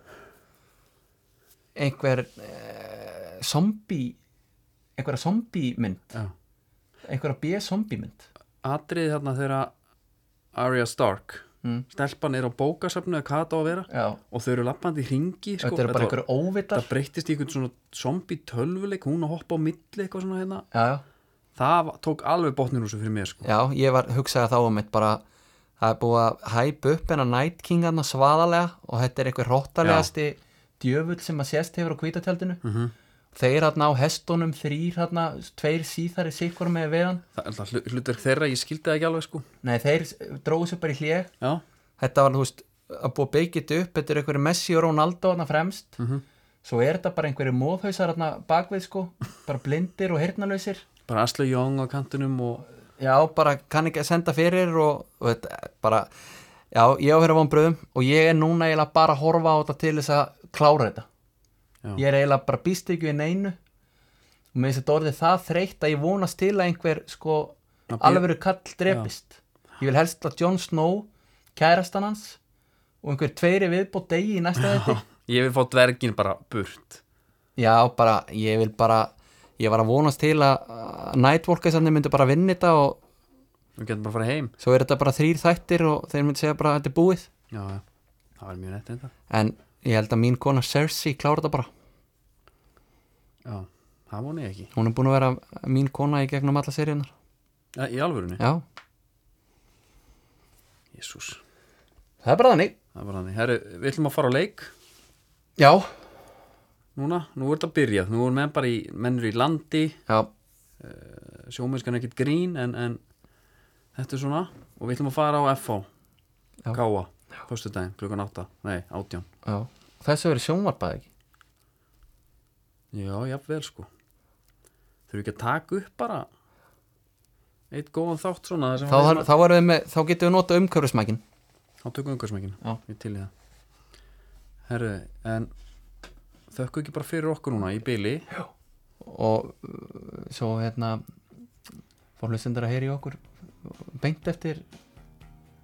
S2: einhver eh, zombie einhverja zombie mynd
S1: Já.
S2: einhverja b-zombie mynd
S1: Atriði þarna þegar Arya Stark
S2: Mm.
S1: Stelpan er á bókasafnu eða hvað það á að vera
S2: já,
S1: Og þau eru lappandi í ringi sko.
S2: þetta eru bara
S1: var-
S2: einhverju óvitar
S1: það breyttist í einhvern svona zombie tölvuleik hún að hoppa á milli eitthvað svona hérna
S2: já, já
S1: það var- tók alveg botnir úr þessu fyrir mér sko
S2: Já, ég var hugsaði þá um eitt bara það er búið að hæpa upp hennar Night King hann svaðalega og þetta er einhver hróttalegasti djöfull sem að sést hefur á kvítatjaldinu -hmm. þeir hann á hestunum þrýr hann, tveir síðari sikkur með við hann,
S1: það er alltaf hlu- hlutverk þeirra, ég skildi það ekki alveg sko
S2: nei þeir dróðu sér bara í hljeg
S1: já,
S2: þetta var, þú veist, að búið að byggja þetta upp þetta er einhverju Messi og Ronaldo hann fremst -hmm. svo er þetta bara einhverju móðhausar hann bakvið sko, bara blindir og hirnalausir
S1: bara Asla Young á kantunum og
S2: Já, bara kann ekki að senda fyrir og, og þetta, er bara Já, ég á að vera vonbröðum og ég er núna eiginlega bara að horfa á þetta til þess að klára þetta
S1: Já.
S2: Ég er eiginlega bara býst ekki við neinu og með þess að orðið það þreytt að ég vonast til að einhver sko
S1: Að bíða-
S2: alvöru kall drepist Ég vil helst að Jon Snow, kærastan hans og einhver tveiri viðbót degi í næsta þetta
S1: ég vil fá dvergin bara burt
S2: Já, bara, ég vil bara ég var að vonast til að að Nightwalkers hann myndi bara vinna þetta og
S1: við getum bara að fara heim
S2: svo er þetta bara þrýr þættir og þeir myndi segja bara að þetta er búið
S1: já, já. það var mjög nett þetta
S2: en ég held að mín kona Cersei klára þetta bara
S1: já, það vona ég ekki
S2: hún er búin að vera mín kona í gegnum alla seríunar
S1: ja, í alvörunni,
S2: já,
S1: jésús
S2: það er bara þannig
S1: það var þannig, herru, við ætlum að fara á leik
S2: já,
S1: núna, nú er þetta byrjað, nú er menn bara í menn eru í landi,
S2: já,
S1: sjómennskan er ekkit grín en, en þetta er svona og við ætlum að fara á FH
S2: Já.
S1: Káa, föstudaginn, klukkan 8 nei, 18
S2: já. þessu verið sjónvarpað ekki
S1: já, jafnvel sko þurfum ekki að taka upp bara eitt góðan þátt svona þar sem
S2: þá,
S1: við-
S2: þá, erum við með, þá getum við notað umhverfismækin
S1: þá tökum við umhversmækin
S2: Já.
S1: ég til í það herru, en þökkum ekki bara fyrir okkur núna í byli
S2: og uh, svo hérna fór hlustendur að heyri okkur beint eftir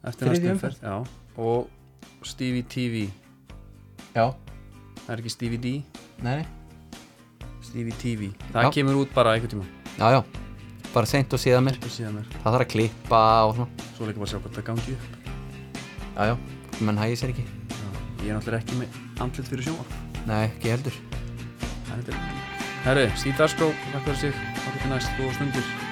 S1: eftir
S2: Þriðju
S1: næstu umferð já, og Stevie TV
S2: já,
S1: það er ekki Stevie D,
S2: nei,
S1: Stevie TV Það
S2: Já.
S1: kemur út bara einhvern tíma
S2: já, já, bara seint og síðan mér
S1: og síðan er
S2: það þarf að klippa og svona
S1: svo líka bara að sjá hvort það gangi upp
S2: já, já, menn hægir sér ekki
S1: Já. Ég er náttúrulega ekki með andlit fyrir sjóa
S2: nei, ekki heldur
S1: Það er þetta Herri, Steve Darsko, takk fyrir sig Takk fyrir næst, góða stundir